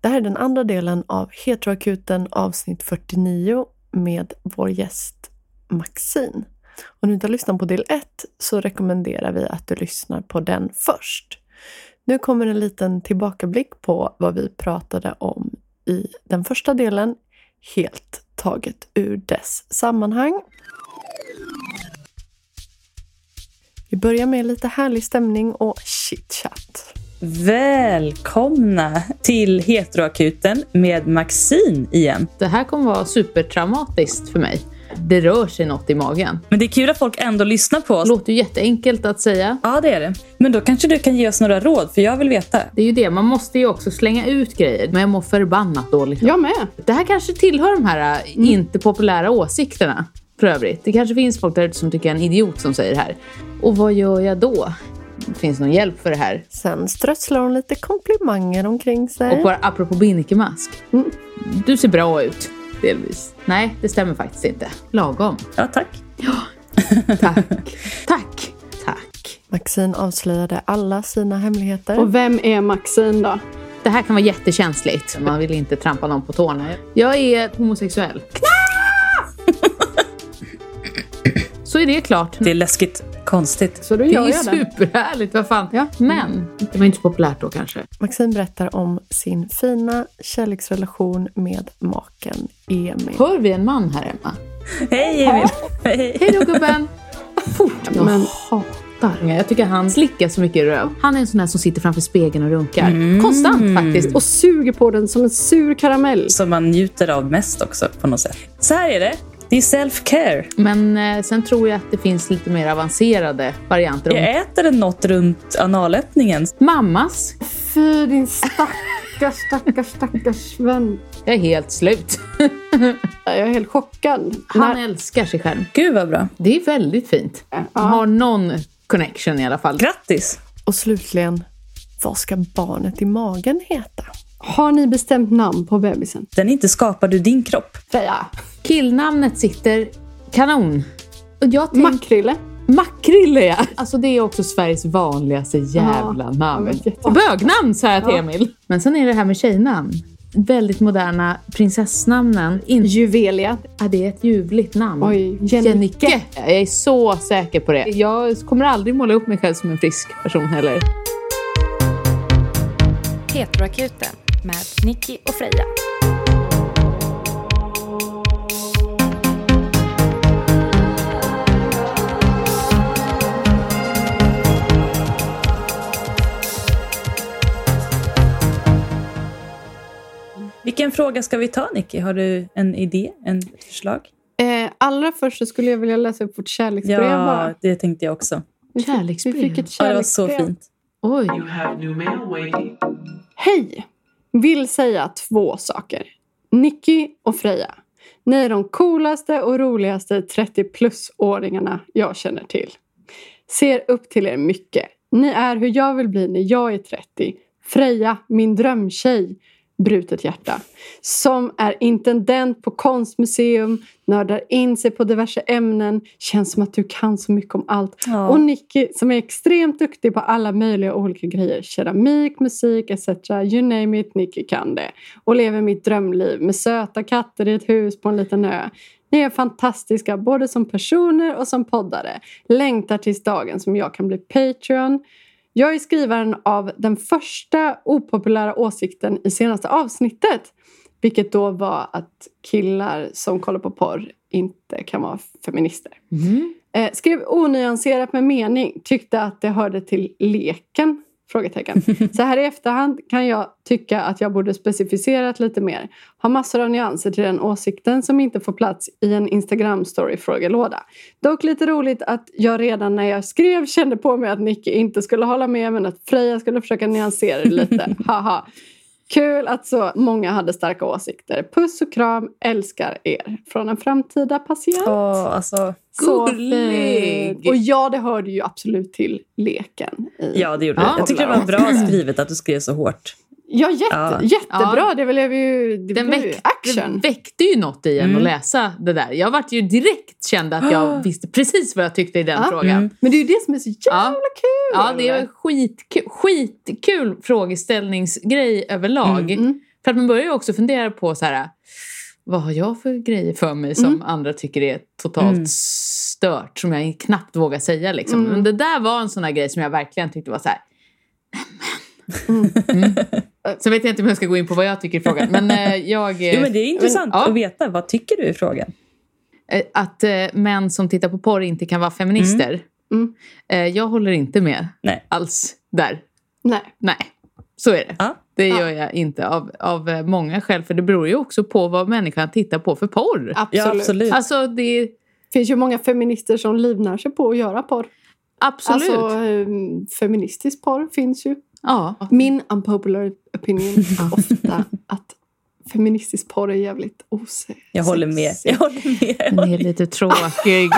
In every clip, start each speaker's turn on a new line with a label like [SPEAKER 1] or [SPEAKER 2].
[SPEAKER 1] Det här är den andra delen av Heteroakuten avsnitt 49 med vår gäst Maxine. Om du inte har lyssnat på del 1 så rekommenderar vi att du lyssnar på den först. Nu kommer en liten tillbakablick på vad vi pratade om i den första delen, helt taget ur dess sammanhang. Vi börjar med lite härlig stämning och chitchat.
[SPEAKER 2] Välkomna till Heteroakuten med Maxine igen.
[SPEAKER 3] Det här kommer vara supertraumatiskt för mig. Det rör sig något i magen.
[SPEAKER 2] Men det är kul att folk ändå lyssnar på
[SPEAKER 3] Det
[SPEAKER 2] oss.
[SPEAKER 3] låter ju jätteenkelt att säga.
[SPEAKER 2] Ja, det är det. Men då kanske du kan ge oss några råd, för jag vill veta.
[SPEAKER 3] Det är ju det, man måste ju också slänga ut grejer. Men jag mår förbannat dåligt.
[SPEAKER 4] Jag med. Mm.
[SPEAKER 3] Det här kanske tillhör de här äh, inte populära åsikterna. För övrigt. Det kanske finns folk där ute som tycker jag är en idiot som säger det här. Och vad gör jag då? Finns någon hjälp för det här?
[SPEAKER 1] Sen strösslar hon lite komplimanger omkring sig.
[SPEAKER 3] Och bara apropå binnikemask.
[SPEAKER 1] Mm.
[SPEAKER 3] Du ser bra ut. Delvis. Nej, det stämmer faktiskt inte. Lagom.
[SPEAKER 2] Ja, tack.
[SPEAKER 3] Tack. Tack. Tack.
[SPEAKER 1] Maxine avslöjade alla sina hemligheter.
[SPEAKER 4] Och vem är Maxine då?
[SPEAKER 3] Det här kan vara jättekänsligt. Man vill inte trampa någon på tårna. Jag är homosexuell. Så är det klart.
[SPEAKER 2] Det är läskigt konstigt.
[SPEAKER 4] Så då
[SPEAKER 3] Det
[SPEAKER 4] gör
[SPEAKER 3] är ju
[SPEAKER 4] jag det.
[SPEAKER 3] superhärligt, vad fan.
[SPEAKER 4] Ja.
[SPEAKER 3] Men det var inte så populärt då kanske.
[SPEAKER 1] Maxine berättar om sin fina kärleksrelation med maken Emil.
[SPEAKER 3] Hör vi en man här hemma?
[SPEAKER 2] Hej, Emil. Hej.
[SPEAKER 3] Hej då gubben! Fort! Jag
[SPEAKER 4] Men-
[SPEAKER 3] hatar Jag tycker han slickar så mycket röv. Mm. Han är en sån där som sitter framför spegeln och runkar. Konstant faktiskt. Och
[SPEAKER 4] Och suger på den som en sur karamell.
[SPEAKER 2] Som man njuter av mest också, på något sätt. Så här är det. Det är self-care.
[SPEAKER 3] Men eh, sen tror jag att det finns lite mer avancerade varianter.
[SPEAKER 2] Jag äter något runt analöppningen.
[SPEAKER 3] Mammas.
[SPEAKER 4] Fy din stackars, stackars, stackars vän.
[SPEAKER 3] Jag är helt slut.
[SPEAKER 4] Jag är helt chockad.
[SPEAKER 3] Han
[SPEAKER 4] När-
[SPEAKER 3] älskar sig själv.
[SPEAKER 2] Gud vad bra.
[SPEAKER 3] Det är väldigt fint. Har någon connection i alla fall.
[SPEAKER 2] Grattis!
[SPEAKER 1] Och slutligen, vad ska barnet i magen heta?
[SPEAKER 4] Har ni bestämt namn på bebisen?
[SPEAKER 2] Den är inte skapad ur din kropp.
[SPEAKER 4] Freja.
[SPEAKER 3] Killnamnet sitter kanon. Och jag tänk...
[SPEAKER 4] Makrille.
[SPEAKER 3] Makrille ja! Alltså det är också Sveriges vanligaste jävla namn.
[SPEAKER 4] jätte-
[SPEAKER 3] Och bögnamn sa jag till Emil. Men sen är det här med tjejnamn. Väldigt moderna prinsessnamnen. In...
[SPEAKER 4] Juvelia.
[SPEAKER 3] Ja, det är ett ljuvligt namn.
[SPEAKER 4] Oj, Jennike.
[SPEAKER 3] Jennike. Jag är så säker på det. Jag kommer aldrig måla upp mig själv som en frisk person heller.
[SPEAKER 5] Heteroakuten med Nicky och Freja.
[SPEAKER 2] Vilken fråga ska vi ta, Nicky? Har du en idé? En förslag?
[SPEAKER 4] Eh, allra först så skulle jag vilja läsa upp vårt kärleksbrev bara.
[SPEAKER 2] Ja, det tänkte jag också.
[SPEAKER 4] Vi fick-
[SPEAKER 3] Kärleksbrev.
[SPEAKER 4] Vi fick ett
[SPEAKER 2] Ja, det var så
[SPEAKER 4] kärleksbrev.
[SPEAKER 2] fint.
[SPEAKER 3] Oj.
[SPEAKER 6] You have new mail waiting.
[SPEAKER 4] Hej! Vill säga två saker. Nicky och Freja. Ni är de coolaste och roligaste 30-plus-åringarna jag känner till. Ser upp till er mycket. Ni är hur jag vill bli när jag är 30. Freja, min drömtjej. Brutet hjärta. Som är intendent på konstmuseum, nördar in sig på diverse ämnen. Känns som att du kan så mycket om allt.
[SPEAKER 2] Ja.
[SPEAKER 4] Och Nicky som är extremt duktig på alla möjliga olika grejer. Keramik, musik etc. You name it, Nicky kan det. Och lever mitt drömliv med söta katter i ett hus på en liten ö. Ni är fantastiska både som personer och som poddare. Längtar tills dagen som jag kan bli Patreon. Jag är skrivaren av den första opopulära åsikten i senaste avsnittet. Vilket då var att killar som kollar på porr inte kan vara feminister.
[SPEAKER 3] Mm.
[SPEAKER 4] Eh, skrev onyanserat med mening. Tyckte att det hörde till leken? Frågetecken. Så här i efterhand kan jag tycka att jag borde specificerat lite mer. Har massor av nyanser till den åsikten som inte får plats i en Instagram-story-frågelåda. Dock lite roligt att jag redan när jag skrev kände på mig att Nicky inte skulle hålla med men att Freja skulle försöka nyansera det lite. Haha. Kul att så många hade starka åsikter. Puss och kram, älskar er. Från en framtida patient.
[SPEAKER 2] Åh, alltså,
[SPEAKER 4] Så
[SPEAKER 3] Gullig.
[SPEAKER 4] fint. Och ja, det hörde ju absolut till leken. i-
[SPEAKER 2] ja, det gjorde
[SPEAKER 3] Ja.
[SPEAKER 2] det. Jag tycker det var bra skrivet att du skrev så hårt.
[SPEAKER 4] ja, jätte,
[SPEAKER 2] Ja.
[SPEAKER 4] jättebra.
[SPEAKER 3] Ja.
[SPEAKER 4] Det blev ju det
[SPEAKER 3] Den
[SPEAKER 4] blev ju
[SPEAKER 3] väckte,
[SPEAKER 4] action.
[SPEAKER 3] väckte ju något i en
[SPEAKER 2] Mm.
[SPEAKER 3] att läsa det där. Jag vart ju direkt känd att jag visste precis vad jag tyckte i den
[SPEAKER 4] Ja.
[SPEAKER 3] frågan.
[SPEAKER 2] Mm.
[SPEAKER 4] Men det är ju det som är så jävla
[SPEAKER 3] Ja.
[SPEAKER 4] kul.
[SPEAKER 3] Ja, det är en skitkul, skitkul frågeställningsgrej överlag.
[SPEAKER 4] Mm.
[SPEAKER 3] För att man börjar ju också fundera på så här, vad har jag för grejer för mig som
[SPEAKER 4] Mm.
[SPEAKER 3] andra tycker är totalt
[SPEAKER 2] Mm.
[SPEAKER 3] stört, som jag knappt vågar säga. Liksom.
[SPEAKER 4] Mm.
[SPEAKER 3] Men det där var en sån här grej som jag verkligen tyckte var så här, nämen. Mm. Sen vet jag inte om jag ska gå in på vad jag tycker i frågan, men eh, jag... eh,
[SPEAKER 2] Jo, men det är intressant
[SPEAKER 3] ja.
[SPEAKER 2] att veta. Vad tycker du i frågan?
[SPEAKER 3] Eh, att eh, män som tittar på porr inte kan vara feminister.
[SPEAKER 4] Mm.
[SPEAKER 3] Eh, jag håller inte med
[SPEAKER 2] Nej.
[SPEAKER 3] alls där.
[SPEAKER 4] Nej.
[SPEAKER 3] Nej, så är det.
[SPEAKER 2] Ja.
[SPEAKER 3] Det
[SPEAKER 4] Ja.
[SPEAKER 3] gör jag inte av, av eh, många skäl. För det beror ju också på vad människan tittar på för porr.
[SPEAKER 4] Absolut.
[SPEAKER 2] Ja, absolut.
[SPEAKER 3] Alltså, det är
[SPEAKER 4] Det finns ju många feminister som livnär sig på att göra porr.
[SPEAKER 3] absolut.
[SPEAKER 4] Alltså, eh, feministisk porr finns ju.
[SPEAKER 3] ja.
[SPEAKER 4] Min unpopular opinion är ofta att feministisk porr är jävligt osexig.
[SPEAKER 2] Jag håller med. Jag håller med. Jag
[SPEAKER 3] Den
[SPEAKER 2] håller
[SPEAKER 3] är lite tråkig.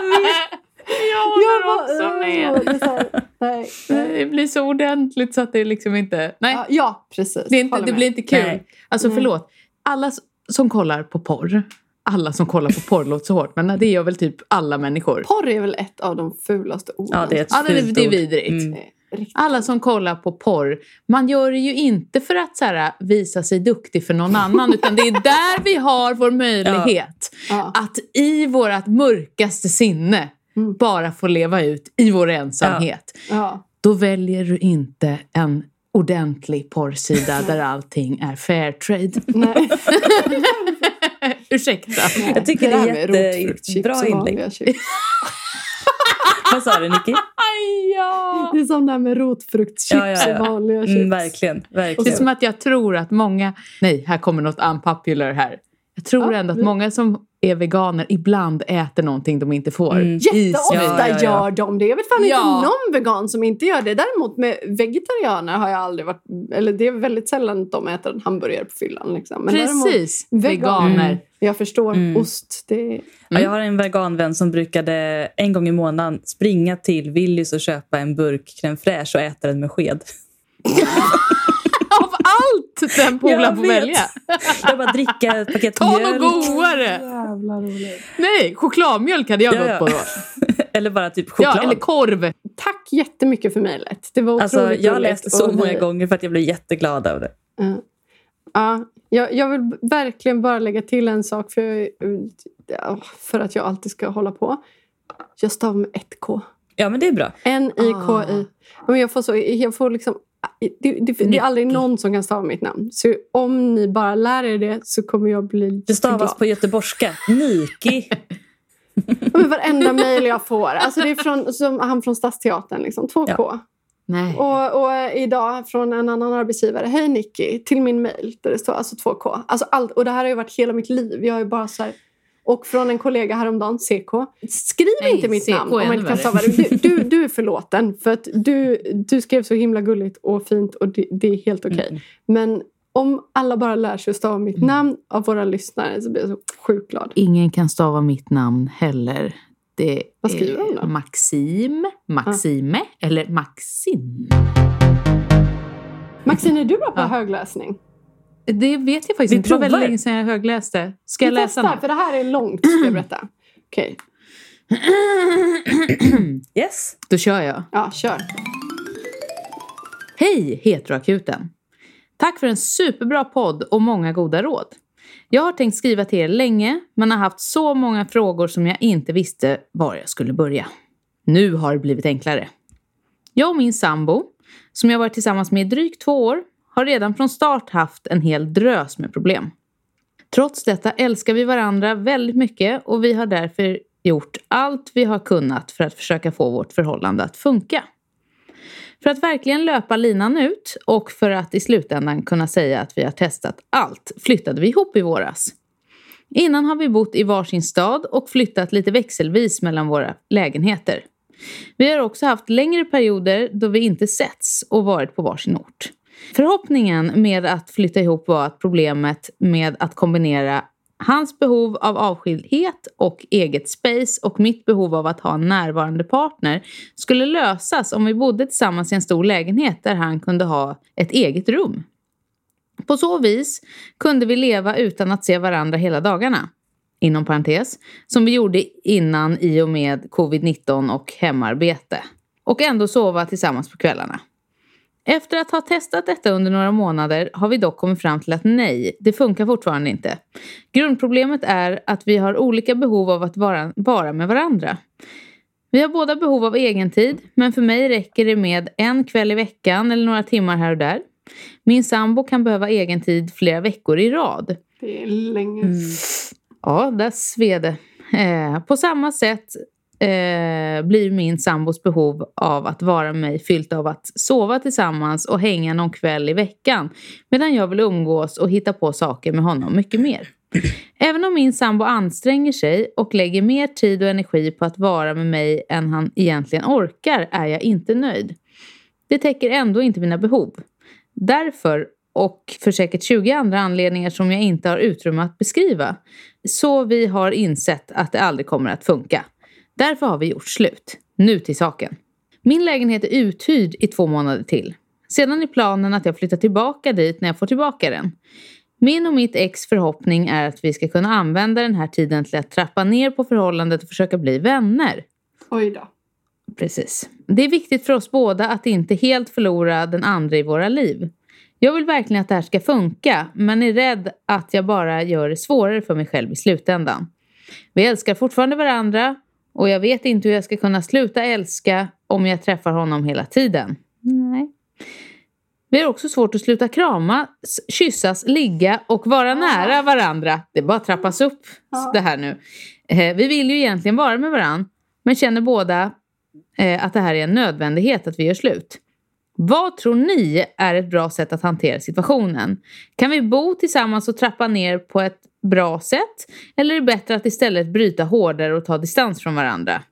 [SPEAKER 3] jag
[SPEAKER 4] Jag
[SPEAKER 3] håller
[SPEAKER 4] var-
[SPEAKER 3] också
[SPEAKER 4] Ja,
[SPEAKER 3] med.
[SPEAKER 4] det är så här, Nej. nej.
[SPEAKER 3] Det blir så ordentligt så att det liksom inte... Nej,
[SPEAKER 4] Ja, Ja, precis.
[SPEAKER 3] Det, är inte,
[SPEAKER 4] Håller
[SPEAKER 3] det
[SPEAKER 4] med.
[SPEAKER 3] blir inte kul.
[SPEAKER 2] Nej.
[SPEAKER 3] Alltså
[SPEAKER 4] Nej.
[SPEAKER 3] förlåt. Alla s- som kollar på porr. Alla som kollar på porr låter så hårt. Men det gör väl typ alla människor.
[SPEAKER 4] Porr är väl ett av de fulaste orden.
[SPEAKER 2] Ja, det är ett
[SPEAKER 3] Ja, det är,
[SPEAKER 2] fult
[SPEAKER 3] det är
[SPEAKER 2] ord.
[SPEAKER 3] vidrigt.
[SPEAKER 2] Mm.
[SPEAKER 4] Eh, riktigt.
[SPEAKER 3] Alla som kollar på porr. Man gör det ju inte för att så här, visa sig duktig för någon annan. utan det är där vi har vår möjlighet.
[SPEAKER 4] Ja.
[SPEAKER 3] Att i vårt mörkaste sinne
[SPEAKER 4] Mm.
[SPEAKER 3] bara få leva ut i vår ensamhet.
[SPEAKER 2] Ah.
[SPEAKER 4] Ja.
[SPEAKER 3] Då väljer du inte en ordentlig porrsida där allting är fair trade.
[SPEAKER 4] Nej.
[SPEAKER 3] Ursäkta.
[SPEAKER 2] Jag tycker det är jättebra inlägg.
[SPEAKER 4] inlägg.
[SPEAKER 2] Vad sa du, Nicky?
[SPEAKER 3] Ja.
[SPEAKER 4] Det är som det här med rotfruktschips
[SPEAKER 2] Ja, ja, ja.
[SPEAKER 4] och vanliga chips.
[SPEAKER 2] Mm, verkligen.
[SPEAKER 3] Det är
[SPEAKER 2] verkligen.
[SPEAKER 3] som att jag tror att många... Nej, här kommer något unpopular här. Jag tror
[SPEAKER 4] Ja,
[SPEAKER 3] ändå att
[SPEAKER 4] vi-
[SPEAKER 3] många som är veganer ibland äter någonting de inte får.
[SPEAKER 2] Mm.
[SPEAKER 3] I
[SPEAKER 4] Jätteofta
[SPEAKER 3] Sverige.
[SPEAKER 2] Ja, ja, ja.
[SPEAKER 4] gör de det. Jag vet fan
[SPEAKER 3] Ja.
[SPEAKER 4] inte någon vegan som inte gör det. Däremot med vegetarianer har jag aldrig varit... Eller det är väldigt sällan de äter en hamburgare på fyllan. Liksom. Men Däremot,
[SPEAKER 3] Precis.
[SPEAKER 4] veganer.
[SPEAKER 3] Veganer.
[SPEAKER 2] Mm.
[SPEAKER 4] jag förstår.
[SPEAKER 2] Mm.
[SPEAKER 4] Ost, det är...
[SPEAKER 2] Ja, jag har en veganvän som brukade en gång i månaden springa till Willys och köpa en burk crème fraîche och äta den med sked.
[SPEAKER 3] Av allt den polaren
[SPEAKER 2] Jag
[SPEAKER 3] får
[SPEAKER 2] vet.
[SPEAKER 3] välja.
[SPEAKER 2] Jag bara dricka ett paket
[SPEAKER 3] Ta något
[SPEAKER 2] mjölk.
[SPEAKER 3] godare.
[SPEAKER 4] Jävla roligt.
[SPEAKER 3] Nej, chokladmjölk hade jag
[SPEAKER 2] Ja, ja.
[SPEAKER 3] gått på då.
[SPEAKER 2] Eller bara typ choklad.
[SPEAKER 3] Ja, eller korv.
[SPEAKER 4] Tack jättemycket för mejlet. Det var otroligt
[SPEAKER 2] alltså, jag har
[SPEAKER 4] roligt
[SPEAKER 2] läst så
[SPEAKER 4] och vi-
[SPEAKER 2] många gånger för att jag blir jätteglad av det.
[SPEAKER 4] Ja, jag, jag vill verkligen bara lägga till en sak för, jag- ja, för att jag alltid ska hålla på. Jag stavar med ett K.
[SPEAKER 2] Ja, men det är bra.
[SPEAKER 4] N-I-K-I.
[SPEAKER 2] Ah.
[SPEAKER 4] Men Jag får så, jag får liksom, det, det, det är aldrig någon som kan stava mitt namn. Så om ni bara lär er det så kommer jag bli
[SPEAKER 2] Det stavas på göteborgska. Niki.
[SPEAKER 4] Ja, Men varenda mejl jag får. Alltså det är från, som han från Stadsteatern. Liksom, 2K.
[SPEAKER 3] Nej.
[SPEAKER 4] Och, och eh, idag från en annan arbetsgivare. Hej Nicky, till min mail där det står alltså 2K. Alltså allt, och det här har ju varit hela mitt liv. Jag har ju bara så här, och från en kollega häromdagen, CK. Skriv
[SPEAKER 3] Nej,
[SPEAKER 4] inte mitt
[SPEAKER 3] CK
[SPEAKER 4] namn om man
[SPEAKER 3] ännu
[SPEAKER 4] inte kan
[SPEAKER 3] värre.
[SPEAKER 4] stava det. Du, du, du är förlåten. För att du, du skrev så himla gulligt och fint och det, det är helt okej.
[SPEAKER 2] Mm.
[SPEAKER 4] Men om alla bara lär sig att stava mitt
[SPEAKER 3] Mm.
[SPEAKER 4] namn av våra lyssnare så blir jag så sjukt glad.
[SPEAKER 3] Ingen kan stava mitt namn heller. Det
[SPEAKER 4] Vad skriver de
[SPEAKER 3] är
[SPEAKER 4] då?
[SPEAKER 3] Maxim, Maxime eller Maxim.
[SPEAKER 4] Maxine, är du bra på
[SPEAKER 3] Ja.
[SPEAKER 4] högläsning?
[SPEAKER 3] Det vet jag faktiskt
[SPEAKER 2] Vi
[SPEAKER 3] inte. Det var väldigt
[SPEAKER 2] provar.
[SPEAKER 3] länge sedan jag högläste. Ska jag
[SPEAKER 4] Vi
[SPEAKER 3] läsa
[SPEAKER 4] testar,
[SPEAKER 3] nu?
[SPEAKER 4] för det här är långt, ska jag berätta. Okej,
[SPEAKER 2] Yes.
[SPEAKER 3] Då kör jag.
[SPEAKER 4] ja, kör.
[SPEAKER 3] Hej Heteroakuten! Tack för en superbra podd och många goda råd. Jag har tänkt skriva till er länge, men har haft så många frågor som jag inte visste var jag skulle börja. Nu har det blivit enklare. Jag och min sambo, som jag varit tillsammans med i drygt två år, har redan från start haft en hel drös med problem. Trots detta älskar vi varandra väldigt mycket och vi har därför gjort allt vi har kunnat för att försöka få vårt förhållande att funka. För att verkligen löpa linan ut och för att i slutändan kunna säga att vi har testat allt flyttade vi ihop i våras. Innan har vi bott i varsin stad och flyttat lite växelvis mellan våra lägenheter. Vi har också haft längre perioder då vi inte setts och varit på varsin ort. Förhoppningen med att flytta ihop var att problemet med att kombinera hans behov av avskildhet och eget space och mitt behov av att ha en närvarande partner skulle lösas om vi bodde tillsammans i en stor lägenhet där han kunde ha ett eget rum. På så vis kunde vi leva utan att se varandra hela dagarna. Inom parentes, som vi gjorde innan i och med covid-19 och hemarbete. Och ändå sova tillsammans på kvällarna. Efter att ha testat detta under några månader har vi dock kommit fram till att nej, det funkar fortfarande inte. Grundproblemet är att vi har olika behov av att vara, vara med varandra. Vi har båda behov av egentid, men för mig räcker det med en kväll i veckan eller några timmar här och där. Min sambo kan behöva egentid flera veckor i rad.
[SPEAKER 4] Det är länge.
[SPEAKER 2] Mm.
[SPEAKER 3] Ja, där sved det. Eh, på samma sätt eh, blir min sambos behov av att vara med mig fyllt av att sova tillsammans och hänga någon kväll i veckan medan jag vill umgås och hitta på saker med honom mycket mer. Även om min sambo anstränger sig och lägger mer tid och energi på att vara med mig än han egentligen orkar är jag inte nöjd. Det täcker ändå inte mina behov. Därför, och för säkert 20 andra anledningar som jag inte har utrymme att beskriva, så vi har insett att det aldrig kommer att funka. Därför har vi gjort slut. Nu till saken. Min lägenhet är uthyrd i två månader till. Sedan är planen att jag flyttar tillbaka dit när jag får tillbaka den. Min och mitt ex förhoppning är att vi ska kunna använda den här tiden till att trappa ner på förhållandet och försöka bli vänner.
[SPEAKER 4] Oj då.
[SPEAKER 3] Precis. Det är viktigt för oss båda att inte helt förlora den andra i våra liv. Jag vill verkligen att det här ska funka, men är rädd att jag bara gör det svårare för mig själv i slutändan. Vi älskar fortfarande varandra och jag vet inte hur jag ska kunna sluta älska om jag träffar honom hela tiden. Nej. Vi har också svårt att sluta kramas, kyssas, ligga och vara nära varandra. Det bara trappas upp
[SPEAKER 4] Ja.
[SPEAKER 3] det här nu. Eh, Vi vill ju egentligen vara med varandra, men känner båda eh, att det här är en nödvändighet att vi gör slut. Vad tror ni är ett bra sätt att hantera situationen? Kan vi bo tillsammans och trappa ner på ett bra sätt? Eller är det bättre att istället bryta hårdare och ta distans från varandra?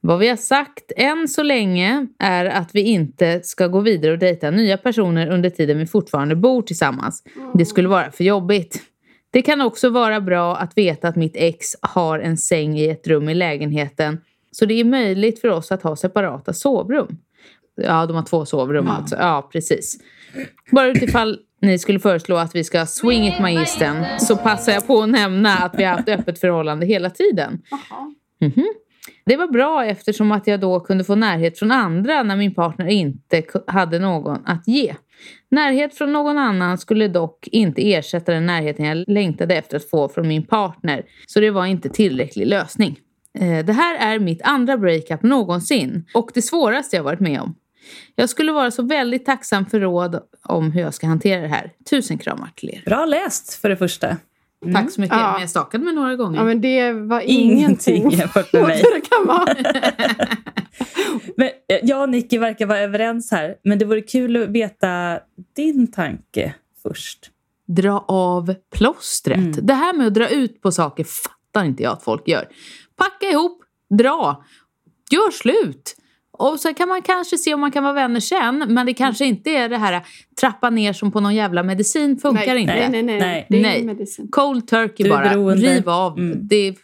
[SPEAKER 3] Vad vi har sagt än så länge är att vi inte ska gå vidare och dejta nya personer under tiden vi fortfarande bor tillsammans. Det skulle vara för jobbigt. Det kan också vara bra att veta att mitt ex har en säng i ett rum i lägenheten så det är möjligt för oss att ha separata sovrum. Ja, de har två sovrum alltså. Ja, precis. Bara utifall ni skulle föreslå att vi ska swing it magistern så passar jag på att nämna att vi har haft öppet förhållande hela tiden.
[SPEAKER 4] Jaha.
[SPEAKER 3] Mhm. Det var bra eftersom att jag då kunde få närhet från andra när min partner inte ku- hade någon att ge. Närhet från någon annan skulle dock inte ersätta den närheten jag längtade efter att få från min partner, så det var inte tillräcklig lösning. Eh, Det här är mitt andra breakup någonsin och det svåraste jag varit med om. Jag skulle vara så väldigt tacksam för råd om hur jag ska hantera det här. Tusen kramar till er.
[SPEAKER 2] Bra läst för det första.
[SPEAKER 3] Tack så mycket.
[SPEAKER 4] Mm. Ja.
[SPEAKER 3] Men jag stakade mig några gånger.
[SPEAKER 4] Ja, men det var ingenting.
[SPEAKER 2] Ingenting jämfört med mig.
[SPEAKER 4] det kan vara.
[SPEAKER 2] Men eh, jag och Nicky verkar vara överens här. Men det vore kul att veta din tanke först.
[SPEAKER 3] dra av plåstret.
[SPEAKER 2] Mm.
[SPEAKER 3] Det här med att dra ut på saker fattar inte jag att folk gör. Packa ihop, dra, gör slut. Och sen kan man kanske se om man kan vara vänner sen, men det kanske
[SPEAKER 4] Mm.
[SPEAKER 3] inte är det här trappa ner som på någon jävla medicin, funkar
[SPEAKER 4] nej,
[SPEAKER 3] inte.
[SPEAKER 4] Nej, nej, nej.
[SPEAKER 2] Nej.
[SPEAKER 4] Det är
[SPEAKER 3] Nej.
[SPEAKER 4] ingen medicin.
[SPEAKER 3] Cold turkey
[SPEAKER 2] Du är
[SPEAKER 3] bara,
[SPEAKER 2] beroende.
[SPEAKER 3] riv av.
[SPEAKER 2] Mm.
[SPEAKER 3] Det,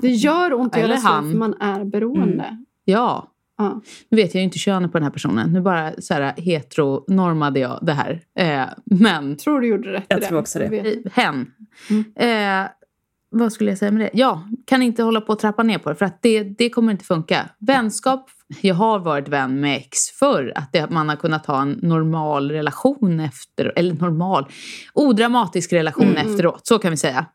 [SPEAKER 4] Det gör ont att
[SPEAKER 3] Eller
[SPEAKER 4] göra slut
[SPEAKER 3] han.
[SPEAKER 4] för man är beroende.
[SPEAKER 2] Mm.
[SPEAKER 3] ja.
[SPEAKER 4] Ja.
[SPEAKER 3] Nu vet jag ju inte könet på den här personen, nu bara så här heteronormade jag det här. Eh, men
[SPEAKER 4] Tror du gjorde rätt i
[SPEAKER 2] Jag
[SPEAKER 4] det.
[SPEAKER 2] tror också det.
[SPEAKER 4] Jag vet.
[SPEAKER 3] Eh, Hen.
[SPEAKER 4] Mm.
[SPEAKER 3] Eh, vad skulle jag säga med det? Ja, kan inte hålla på att trappa ner på det för att det, det kommer inte funka. Vänskap, jag har varit vän med ex förr, att det, man har kunnat ha en normal relation efter, eller normal, odramatisk relation
[SPEAKER 4] Mm, mm.
[SPEAKER 3] efteråt, så kan vi säga.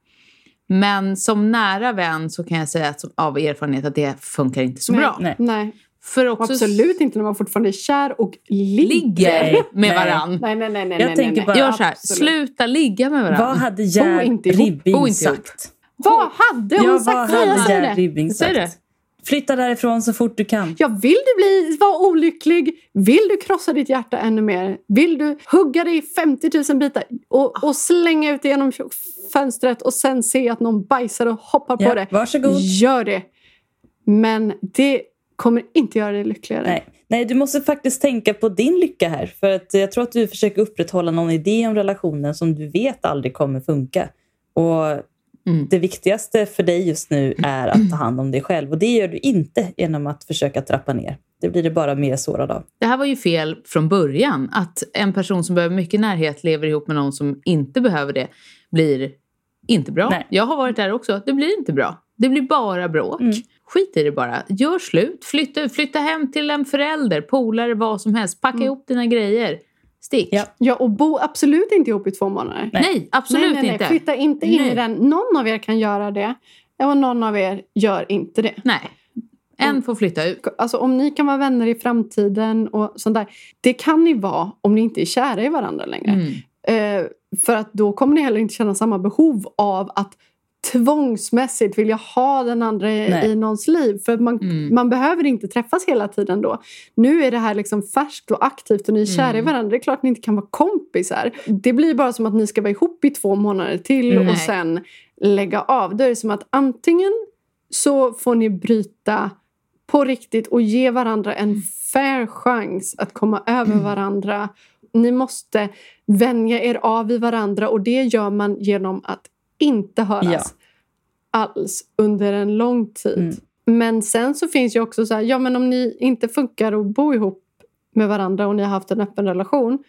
[SPEAKER 3] Men som nära vän så kan jag säga att, som- av erfarenhet att det funkar inte så
[SPEAKER 4] Nej,
[SPEAKER 3] bra.
[SPEAKER 2] nej.
[SPEAKER 4] Nej,
[SPEAKER 3] För också
[SPEAKER 4] absolut inte när man fortfarande är kär och ligger.
[SPEAKER 3] ligger
[SPEAKER 2] Nej,
[SPEAKER 3] med
[SPEAKER 2] nej.
[SPEAKER 3] varann.
[SPEAKER 4] Nej, nej, nej. nej
[SPEAKER 2] Jag
[SPEAKER 4] nej,
[SPEAKER 2] tänker
[SPEAKER 4] nej.
[SPEAKER 2] bara-
[SPEAKER 3] Gör så här,
[SPEAKER 4] Absolut.
[SPEAKER 3] sluta ligga med varandra.
[SPEAKER 2] Vad hade Gerd
[SPEAKER 4] inte ihop,
[SPEAKER 3] bo
[SPEAKER 2] Ribbing
[SPEAKER 3] inte ihop.
[SPEAKER 2] sagt?
[SPEAKER 4] Vad hade hon
[SPEAKER 2] Ja, vad
[SPEAKER 4] sagt? Nej, jag
[SPEAKER 2] hade
[SPEAKER 4] säger
[SPEAKER 2] Gerd
[SPEAKER 4] det.
[SPEAKER 2] Ribbing
[SPEAKER 3] Säg
[SPEAKER 2] sagt? Flytta därifrån så fort du kan.
[SPEAKER 4] Ja, vill du bli, vara olycklig? Vill du krossa ditt hjärta ännu mer? Vill du hugga dig i 50 000 bitar
[SPEAKER 3] Ah.
[SPEAKER 4] och, och slänga ut det genom fönstret och sen se att någon bajsar och hoppar på
[SPEAKER 2] Ja,
[SPEAKER 4] det?
[SPEAKER 2] varsågod.
[SPEAKER 4] Gör det! Men det kommer inte göra dig lyckligare.
[SPEAKER 2] Nej. Nej, du måste faktiskt tänka på din lycka här. För att jag tror att du försöker upprätthålla någon idé om relationen som du vet aldrig kommer funka. Och
[SPEAKER 3] Mm.
[SPEAKER 2] det viktigaste för dig just nu är att ta hand om dig själv. Och det gör du inte genom att försöka trappa ner. Det blir det bara mer sårad av.
[SPEAKER 3] Det här var ju fel från början. Att en person som behöver mycket närhet lever ihop med någon som inte behöver det blir inte bra.
[SPEAKER 2] Nej.
[SPEAKER 3] Jag har varit där också. Det blir inte bra. Det blir bara bråk.
[SPEAKER 2] Mm.
[SPEAKER 3] Skit i det bara. Gör slut. Flytta, ut. flytta hem till en förälder, polare, vad som helst. Packa ihop dina grejer. Stick.
[SPEAKER 2] Mm. Ja.
[SPEAKER 4] Ja, och bo absolut inte ihop i två månader.
[SPEAKER 3] Nej. absolut
[SPEAKER 4] nej, nej,
[SPEAKER 3] inte.
[SPEAKER 4] Nej. Flytta inte in
[SPEAKER 3] Nej.
[SPEAKER 4] i den. Någon av er kan göra det och någon av er gör inte det.
[SPEAKER 3] Nej. En
[SPEAKER 4] Mm.
[SPEAKER 3] får flytta ut.
[SPEAKER 4] Alltså, om ni kan vara vänner i framtiden och sånt där. Det kan ni vara om ni inte är kära i varandra längre.
[SPEAKER 3] Mm.
[SPEAKER 4] Eh, för att då kommer ni heller inte känna samma behov av att tvångsmässigt vilja ha den andra i,
[SPEAKER 2] Nej.
[SPEAKER 4] i någons liv. För att man,
[SPEAKER 3] Mm.
[SPEAKER 4] man behöver inte träffas hela tiden då. Nu är det här liksom färskt och aktivt och ni är kära
[SPEAKER 3] Mm.
[SPEAKER 4] i varandra. Det är klart att ni inte kan vara kompisar. Det blir bara som att ni ska vara ihop i två månader till
[SPEAKER 2] Mm.
[SPEAKER 4] och
[SPEAKER 3] Nej.
[SPEAKER 4] sen lägga av. Då är det som att antingen så får ni bryta på riktigt och ge varandra
[SPEAKER 3] Mm.
[SPEAKER 4] en fair chans att komma över varandra. Ni måste vänja er av vid varandra och det gör man genom att inte höras alls under en lång tid.
[SPEAKER 2] Mm.
[SPEAKER 4] Men sen så finns ju också så här, ja men om ni inte funkar att bo ihop med varandra och ni har haft en öppen relation,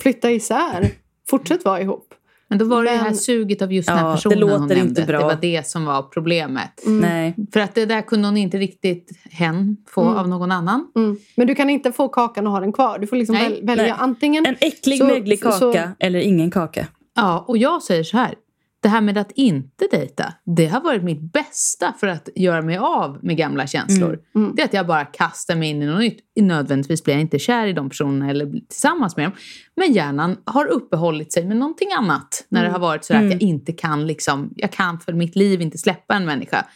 [SPEAKER 4] flytta isär. Fortsätt vara ihop.
[SPEAKER 3] Men då var det det här
[SPEAKER 4] Men-
[SPEAKER 3] suget av just den här
[SPEAKER 2] Ja, det
[SPEAKER 3] personen
[SPEAKER 2] låter
[SPEAKER 3] hon nämnde.
[SPEAKER 2] inte bra.
[SPEAKER 3] Det var det som var problemet.
[SPEAKER 4] Mm.
[SPEAKER 2] Nej.
[SPEAKER 3] För att det där kunde hon inte riktigt hen få
[SPEAKER 4] Mm.
[SPEAKER 3] av någon annan.
[SPEAKER 4] Mm. Men du kan inte få kakan och ha den kvar. Du får liksom
[SPEAKER 3] Nej,
[SPEAKER 4] väl, välja
[SPEAKER 2] nej.
[SPEAKER 4] antingen...
[SPEAKER 2] En äcklig,
[SPEAKER 4] Så-
[SPEAKER 2] möglig kaka
[SPEAKER 4] så-
[SPEAKER 2] eller ingen kaka.
[SPEAKER 3] Ja, och jag säger så här. Det här med att inte dejta, det har varit mitt bästa för att göra mig av med gamla känslor.
[SPEAKER 4] Mm.
[SPEAKER 3] Det är att jag bara kastar mig in i något nytt. Nödvändigtvis blir jag inte kär i de personerna eller blir tillsammans med dem. Men hjärnan har uppehållit sig med någonting annat. När det
[SPEAKER 4] Mm.
[SPEAKER 3] har varit så här att
[SPEAKER 2] Mm.
[SPEAKER 3] jag inte kan liksom, jag kan för mitt liv inte släppa en människa.
[SPEAKER 4] Mm.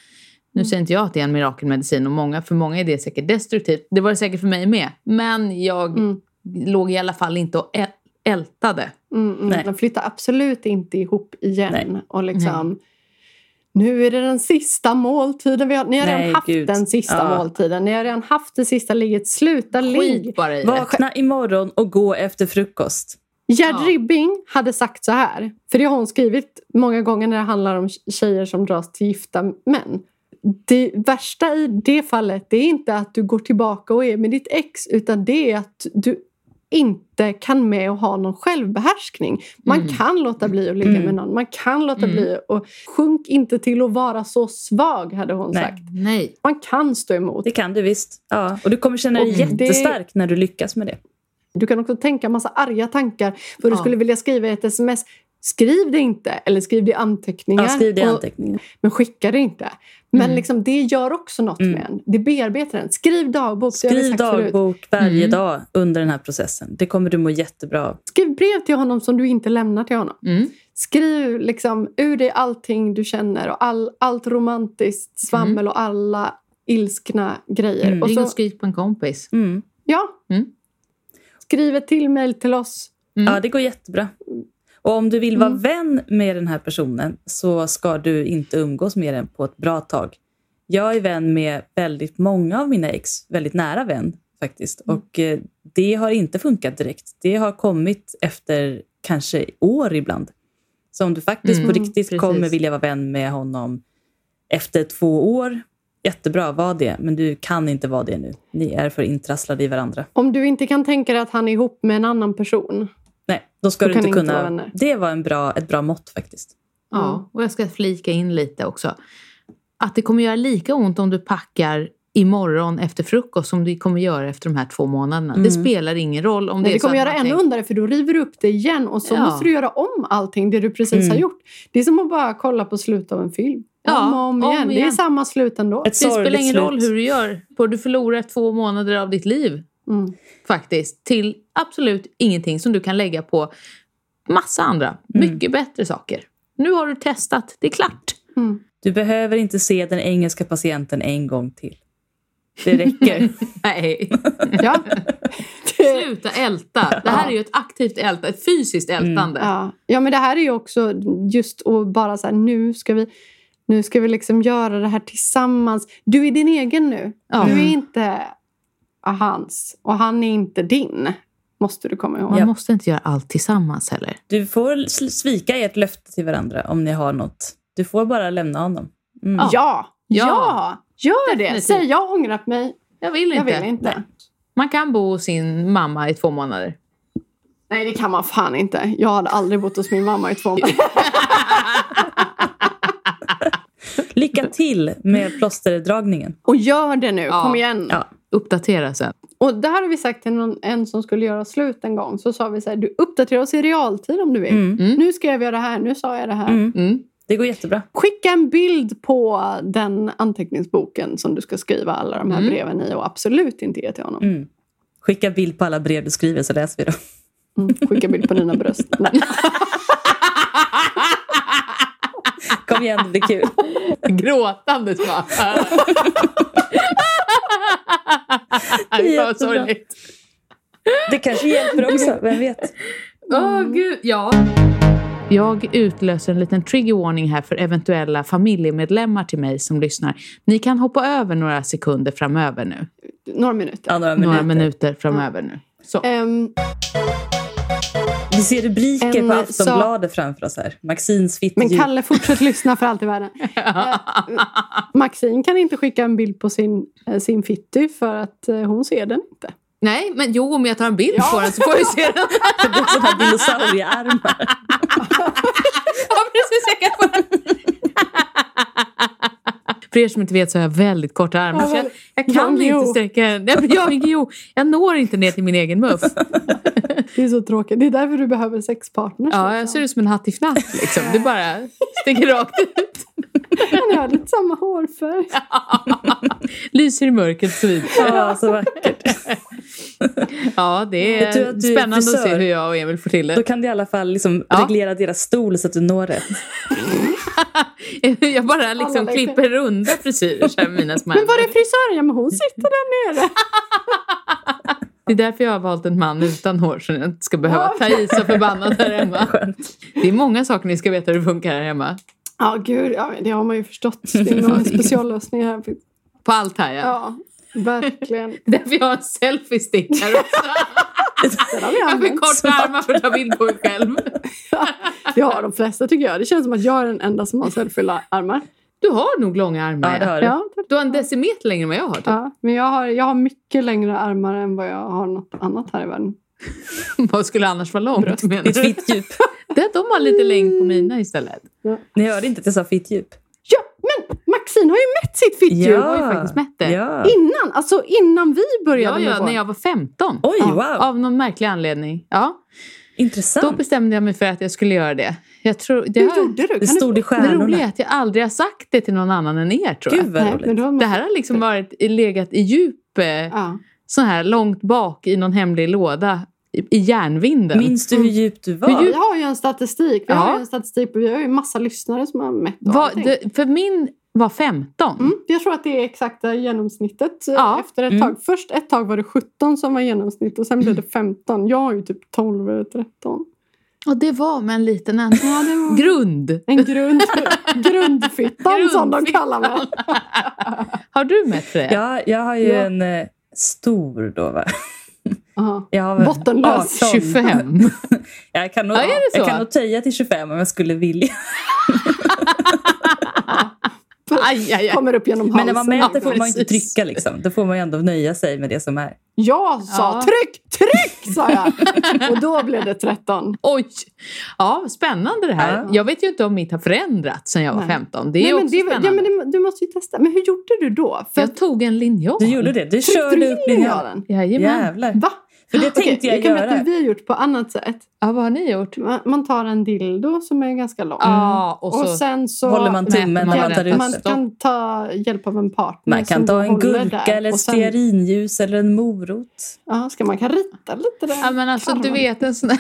[SPEAKER 3] Nu säger inte jag att det är en mirakelmedicin och många, för många är det säkert destruktivt. Det var det säkert för mig med. Men jag
[SPEAKER 4] Mm.
[SPEAKER 3] låg i alla fall inte och äl- ältade.
[SPEAKER 4] Mm, mm.
[SPEAKER 2] Nej.
[SPEAKER 4] De flyttar absolut inte ihop igen.
[SPEAKER 2] Nej.
[SPEAKER 4] Och liksom, nu är det den sista måltiden vi har. Ni har
[SPEAKER 2] Nej,
[SPEAKER 4] redan haft
[SPEAKER 2] gud.
[SPEAKER 4] den sista
[SPEAKER 2] Ja.
[SPEAKER 4] måltiden. Ni har redan haft det sista ligget. Sluta ligg.
[SPEAKER 3] Skit bara i det.
[SPEAKER 2] Vakna imorgon och gå efter frukost.
[SPEAKER 4] Gerd
[SPEAKER 3] Ja.
[SPEAKER 4] Ribbing hade sagt så här. För det har hon skrivit många gånger när det handlar om tjejer som dras till gifta män. Det värsta i det fallet det är inte att du går tillbaka och är med ditt ex utan det är att du inte kan med och ha någon självbehärskning. Man
[SPEAKER 3] Mm.
[SPEAKER 4] kan låta bli att ligga
[SPEAKER 2] Mm.
[SPEAKER 4] med någon. Man kan låta
[SPEAKER 3] Mm.
[SPEAKER 4] bli och sjunk inte till att vara så svag hade hon
[SPEAKER 2] Nej.
[SPEAKER 4] sagt.
[SPEAKER 3] Nej.
[SPEAKER 4] Man kan stå emot.
[SPEAKER 2] Det kan du visst. Ja. Och du kommer känna dig
[SPEAKER 4] Och det-
[SPEAKER 2] jättestark när du lyckas med det.
[SPEAKER 4] Du kan också tänka massa arga tankar för du
[SPEAKER 3] Ja.
[SPEAKER 4] skulle vilja skriva i ett sms. Skriv det inte, eller skriv det i anteckningar.
[SPEAKER 2] Ja, skriv det i
[SPEAKER 4] och-
[SPEAKER 2] anteckningar.
[SPEAKER 4] Men skicka det inte. Men
[SPEAKER 3] Mm.
[SPEAKER 4] liksom, det gör också något
[SPEAKER 2] Mm.
[SPEAKER 4] med en. Det bearbetar en. Skriv dagbok. det har vi
[SPEAKER 2] Skriv
[SPEAKER 4] sagt förut.
[SPEAKER 2] dagbok varje
[SPEAKER 3] Mm.
[SPEAKER 2] dag under den här processen. Det kommer du må jättebra av.
[SPEAKER 4] Skriv brev till honom som du inte lämnar till honom.
[SPEAKER 3] Mm.
[SPEAKER 4] Skriv liksom, ur dig allting du känner och all, allt romantiskt svammel och alla ilskna grejer.
[SPEAKER 2] Mm.
[SPEAKER 4] Och
[SPEAKER 3] Ring och
[SPEAKER 4] så,
[SPEAKER 3] skrik på en kompis.
[SPEAKER 2] Mm.
[SPEAKER 4] ja.
[SPEAKER 3] Mm.
[SPEAKER 4] Skriv ett till mejl till oss.
[SPEAKER 3] Mm.
[SPEAKER 2] Ja, det går jättebra. Och om du vill vara
[SPEAKER 4] Mm.
[SPEAKER 2] vän med den här personen så ska du inte umgås med den på ett bra tag. Jag är vän med väldigt många av mina ex, väldigt nära vän faktiskt.
[SPEAKER 3] Mm.
[SPEAKER 2] Och eh, det har inte funkat direkt. Det har kommit efter kanske år ibland. Så om du faktiskt
[SPEAKER 3] Mm,
[SPEAKER 2] på riktigt
[SPEAKER 3] precis.
[SPEAKER 2] kommer vilja vara vän med honom efter två år, jättebra, var det. Men du kan inte vara det nu. Ni är för intrasslade i varandra.
[SPEAKER 4] Om du inte kan tänka dig att han är ihop med en annan person.
[SPEAKER 2] Nej, då ska
[SPEAKER 4] Då
[SPEAKER 2] du
[SPEAKER 4] kan
[SPEAKER 2] inte
[SPEAKER 4] ni inte vara
[SPEAKER 2] kunna...
[SPEAKER 4] vänner.
[SPEAKER 2] det var en bra, ett bra mått faktiskt.
[SPEAKER 4] Mm.
[SPEAKER 3] Ja, och jag ska flika in lite också. Att det kommer göra lika ont om du packar imorgon efter frukost som det kommer göra efter de här två månaderna.
[SPEAKER 2] Mm.
[SPEAKER 3] Det spelar ingen roll om
[SPEAKER 4] Nej,
[SPEAKER 3] det
[SPEAKER 4] det,
[SPEAKER 3] är så att
[SPEAKER 4] kommer göra
[SPEAKER 3] man
[SPEAKER 4] ännu
[SPEAKER 3] tänker-
[SPEAKER 4] ondare för då river du upp det igen och så
[SPEAKER 3] Ja.
[SPEAKER 4] måste du göra om allting det du precis
[SPEAKER 2] Mm.
[SPEAKER 4] har gjort. Det är som att bara kolla på slutet av en film.
[SPEAKER 3] Ja,
[SPEAKER 4] om och om,
[SPEAKER 3] om
[SPEAKER 4] igen. Det är
[SPEAKER 3] igen.
[SPEAKER 4] samma slut ändå.
[SPEAKER 2] Ett
[SPEAKER 3] Det spelar
[SPEAKER 2] sorgligt
[SPEAKER 3] ingen
[SPEAKER 2] slut.
[SPEAKER 3] roll hur du gör. för Du förlorar två månader av ditt liv
[SPEAKER 4] Mm.
[SPEAKER 3] faktiskt till absolut ingenting som du kan lägga på massa andra,
[SPEAKER 2] Mm.
[SPEAKER 3] mycket bättre saker. Nu har du testat, det är klart.
[SPEAKER 4] Mm.
[SPEAKER 2] Du behöver inte se den engelska patienten en gång till. Det räcker.
[SPEAKER 3] Nej,
[SPEAKER 4] Ja. Det,
[SPEAKER 3] sluta älta. Det här
[SPEAKER 4] Ja.
[SPEAKER 3] är ju ett aktivt älta, ett fysiskt ältande.
[SPEAKER 4] ja. ja, men det här är ju också just att bara så här, nu ska vi nu ska vi liksom göra det här tillsammans. Du är din egen nu.
[SPEAKER 3] Ja.
[SPEAKER 4] Du är inte hans och han är inte din. Måste du komma ihåg.
[SPEAKER 3] Man måste inte göra allt tillsammans heller.
[SPEAKER 2] Du får sl- svika ert löfte till varandra om ni har något. Du får bara lämna honom. Mm.
[SPEAKER 3] Ja.
[SPEAKER 4] Ja, ja.
[SPEAKER 3] Ja.
[SPEAKER 4] gör det.
[SPEAKER 3] Definitivt.
[SPEAKER 4] Säg jag har ångrat mig.
[SPEAKER 3] Jag vill inte.
[SPEAKER 4] Jag vill inte.
[SPEAKER 3] Man kan bo hos sin mamma i två månader.
[SPEAKER 4] Nej, det kan man fan inte. Jag hade aldrig bott hos min mamma i två månader.
[SPEAKER 2] Lycka till med plåsterdragningen.
[SPEAKER 4] Och gör det nu,
[SPEAKER 3] Ja.
[SPEAKER 4] kom igen.
[SPEAKER 2] Ja.
[SPEAKER 3] Uppdatera sen.
[SPEAKER 4] Och där har vi sagt till någon, en som skulle göra slut en gång. Så sa vi så här, du uppdaterar oss i realtid om du vill.
[SPEAKER 2] Mm.
[SPEAKER 4] Nu skrev jag det här, nu sa jag det här.
[SPEAKER 2] Mm.
[SPEAKER 3] Mm.
[SPEAKER 2] Det går jättebra.
[SPEAKER 4] Skicka en bild på den anteckningsboken som du ska skriva alla de här
[SPEAKER 3] Mm.
[SPEAKER 4] breven i och absolut inte ge till honom.
[SPEAKER 2] Mm. Skicka bild på alla brev du skriver så läser vi dem.
[SPEAKER 4] Mm. Skicka bild på dina bröst. Nej.
[SPEAKER 2] Kom igen, det blir kul.
[SPEAKER 3] Gråtandes bara. Det är
[SPEAKER 2] Jättebra.
[SPEAKER 3] fan sorgligt.
[SPEAKER 2] Det kanske hjälper också, vem vet?
[SPEAKER 3] Åh gud, ja. Mm. Jag utlöser en liten trigger warning här för eventuella familjemedlemmar till mig som lyssnar. Ni kan hoppa över några sekunder framöver nu.
[SPEAKER 4] Några minuter.
[SPEAKER 2] Ja, några
[SPEAKER 3] Några
[SPEAKER 2] minuter.
[SPEAKER 3] minuter framöver nu. Så.
[SPEAKER 4] Ehm,
[SPEAKER 2] Vi ser rubriker
[SPEAKER 4] En,
[SPEAKER 2] på
[SPEAKER 4] eh,
[SPEAKER 2] Aftonbladet framför oss här. Maxins
[SPEAKER 4] men
[SPEAKER 2] fittedjur.
[SPEAKER 4] Kalle, fortsätt lyssna för allt i världen. Eh, Maxine kan inte skicka en bild på sin, eh, sin fitty för att eh, hon ser den inte.
[SPEAKER 3] Nej, men jo, om jag tar en bild på den så får vi se den.
[SPEAKER 2] Det blir sådana här dinosauriearmar.
[SPEAKER 3] Ja, precis. Jag kan få den. För er som inte vet så har jag väldigt korta armar. så jag, jag kan
[SPEAKER 4] Jan
[SPEAKER 3] inte
[SPEAKER 4] Guillou.
[SPEAKER 3] sträcka... Nej, men jag, jo, jag når inte ner till min egen muff.
[SPEAKER 4] Det är så tråkigt. Det är därför du behöver sexpartners. liksom.
[SPEAKER 3] Ja, jag ser ut som en hattifnatt. Liksom. Det bara sticker rakt ut.
[SPEAKER 4] Man har lite samma hårfärg.
[SPEAKER 3] Lyser i mörkret så vidare.
[SPEAKER 2] Ja, så vackert.
[SPEAKER 3] Ja, det
[SPEAKER 2] Vet du
[SPEAKER 3] är
[SPEAKER 2] att du är
[SPEAKER 3] spännande att se
[SPEAKER 2] frisör?
[SPEAKER 3] hur jag och Emil får till
[SPEAKER 2] Då
[SPEAKER 3] det.
[SPEAKER 2] kan du i alla fall liksom
[SPEAKER 3] Ja.
[SPEAKER 2] reglera deras stol så att du når rätt.
[SPEAKER 3] Jag bara liksom
[SPEAKER 4] Alla lägger-
[SPEAKER 3] klipper runda frisyrer så här med mina små
[SPEAKER 4] Men var är frisören? Ja, men hon sitter där nere.
[SPEAKER 3] Det är därför jag har valt en man utan hår så jag inte ska behöva ta i så förbannat här hemma. Det är många saker ni ska veta hur det funkar här hemma.
[SPEAKER 4] Ja, gud. Ja, men det har man ju förstått. Det är någon speciallösning här.
[SPEAKER 3] På allt här ja.
[SPEAKER 4] Ja, verkligen.
[SPEAKER 3] Det är därför jag har en selfie-stick här också.
[SPEAKER 4] Den har vi
[SPEAKER 3] Jag har för
[SPEAKER 4] använt.
[SPEAKER 3] korta armar för att ta bild på mig själv.
[SPEAKER 4] Det har de flesta tycker jag. Det känns som att jag är den enda som har selfie-armar.
[SPEAKER 3] Du har nog långa armar.
[SPEAKER 2] Ja, det har du.
[SPEAKER 4] Ja,
[SPEAKER 3] Du har en decimeter längre än vad jag har. Typ.
[SPEAKER 4] ja, men jag har, jag har mycket längre armar än vad jag har något annat här i världen.
[SPEAKER 3] Vad skulle annars vara långt? Menar
[SPEAKER 2] Ditt
[SPEAKER 3] du?
[SPEAKER 2] fittdjup.
[SPEAKER 3] Det, de har lite längd på
[SPEAKER 2] Mm.
[SPEAKER 3] mina istället.
[SPEAKER 2] Ni hörde inte att jag sa fittdjup?
[SPEAKER 4] Ja, men Maxine har ju mätt sitt fittdjur
[SPEAKER 3] Jag har ju faktiskt mätt det.
[SPEAKER 2] Ah. Ja.
[SPEAKER 4] innan. Alltså innan vi
[SPEAKER 3] Ja,
[SPEAKER 4] började med
[SPEAKER 3] ja,
[SPEAKER 4] vår.
[SPEAKER 3] när jag var 15.
[SPEAKER 2] Oj,
[SPEAKER 3] ja,
[SPEAKER 2] wow.
[SPEAKER 3] Av någon märklig anledning. Ja, då
[SPEAKER 2] Intressant.
[SPEAKER 3] bestämde jag mig för att jag skulle göra det. Jag tror, det,
[SPEAKER 4] Hur
[SPEAKER 3] har,
[SPEAKER 4] gjorde du?
[SPEAKER 2] Det
[SPEAKER 4] Kan
[SPEAKER 2] stod i
[SPEAKER 3] det
[SPEAKER 2] stjärnorna.
[SPEAKER 3] roliga är att jag aldrig har sagt det till någon annan än er tror jag.
[SPEAKER 2] Gud
[SPEAKER 4] du?
[SPEAKER 2] vad
[SPEAKER 4] Nej, men
[SPEAKER 2] roligt.
[SPEAKER 4] då har man-
[SPEAKER 3] Det här har liksom varit, legat i djup, eh,
[SPEAKER 4] Ja.
[SPEAKER 3] så här långt bak i någon hemlig låda i, i järnvinden.
[SPEAKER 2] Minns du hur djupt du var?
[SPEAKER 3] Mm. Hur
[SPEAKER 4] Vi har ju en statistik. Vi har
[SPEAKER 3] Ja.
[SPEAKER 4] ju en statistik på, vi har ju massa lyssnare som har mätt och
[SPEAKER 3] Vad-
[SPEAKER 4] allting.
[SPEAKER 3] det, för min var 15.
[SPEAKER 4] Mm, jag tror att det är exakta genomsnittet eh,
[SPEAKER 3] Ja.
[SPEAKER 4] efter ett
[SPEAKER 2] Mm.
[SPEAKER 4] tag. Först ett tag var det 17 som var genomsnitt och sen blev det
[SPEAKER 3] Mm.
[SPEAKER 4] 15. Jag har ju typ 12 eller 13.
[SPEAKER 3] Och det var med en liten ändå.
[SPEAKER 4] Ja, det var
[SPEAKER 3] grund.
[SPEAKER 4] en grund, grundfittan som de kallar mig.
[SPEAKER 3] Har du mätt för det?
[SPEAKER 2] Ja, jag har ju
[SPEAKER 4] Ja.
[SPEAKER 2] en eh, stor då va?
[SPEAKER 4] Aha.
[SPEAKER 2] Jag har
[SPEAKER 4] Bottenlös.
[SPEAKER 2] 18.
[SPEAKER 3] 25.
[SPEAKER 2] Jag kan, nog,
[SPEAKER 3] Ja, är det så?
[SPEAKER 2] jag kan nog töja till 25 om jag skulle vilja.
[SPEAKER 3] Aj, aj, aj.
[SPEAKER 4] Kommer upp genom halsen.
[SPEAKER 2] Men när man mäter får man ju inte
[SPEAKER 3] precis.
[SPEAKER 2] trycka liksom. Då får man ju ändå nöja sig med det som är.
[SPEAKER 4] Jag sa
[SPEAKER 3] Ja.
[SPEAKER 4] tryck, tryck sa jag. Och då blev det 13.
[SPEAKER 3] Oj! Ja, spännande det här.
[SPEAKER 2] Ja.
[SPEAKER 3] Jag vet ju inte om mitt har förändrats sedan jag var
[SPEAKER 4] Nej.
[SPEAKER 3] 15. Det är
[SPEAKER 4] Nej,
[SPEAKER 3] ju
[SPEAKER 4] men
[SPEAKER 3] också
[SPEAKER 4] det-
[SPEAKER 3] spännande.
[SPEAKER 4] ja, men det, du måste ju testa. Men hur gjorde du då? För
[SPEAKER 3] Jag tog en linjal.
[SPEAKER 2] Du gjorde det. Du körde
[SPEAKER 4] tryckte
[SPEAKER 2] upp
[SPEAKER 4] du in
[SPEAKER 2] din
[SPEAKER 4] jag
[SPEAKER 2] hand.
[SPEAKER 4] den?
[SPEAKER 3] Jajamän.
[SPEAKER 2] Jävlar.
[SPEAKER 4] Va?
[SPEAKER 2] För det tänkte
[SPEAKER 4] Okej,
[SPEAKER 2] jag
[SPEAKER 4] kan berätta hur
[SPEAKER 2] göra.
[SPEAKER 4] vi har gjort på annat sätt.
[SPEAKER 3] Ja, vad har ni gjort? Ja,
[SPEAKER 4] Man- Man tar en dildo som är ganska lång.
[SPEAKER 3] och
[SPEAKER 4] Och,
[SPEAKER 3] så...
[SPEAKER 4] sen så
[SPEAKER 2] Håller man tummen
[SPEAKER 3] mäter
[SPEAKER 2] när
[SPEAKER 3] man
[SPEAKER 2] man tar
[SPEAKER 3] den.
[SPEAKER 2] ut
[SPEAKER 4] man
[SPEAKER 2] den.
[SPEAKER 4] kan ta hjälp av en partner.
[SPEAKER 2] Man
[SPEAKER 4] som
[SPEAKER 2] kan ta
[SPEAKER 4] du
[SPEAKER 2] en
[SPEAKER 4] håller
[SPEAKER 2] gurka
[SPEAKER 4] där.
[SPEAKER 2] eller
[SPEAKER 4] Och
[SPEAKER 2] ett
[SPEAKER 4] sen-
[SPEAKER 2] stearinljus eller en morot.
[SPEAKER 4] Ja, ska man kan rita lite där.
[SPEAKER 3] Ja, men alltså du
[SPEAKER 4] Karmen.
[SPEAKER 3] vet en sån här...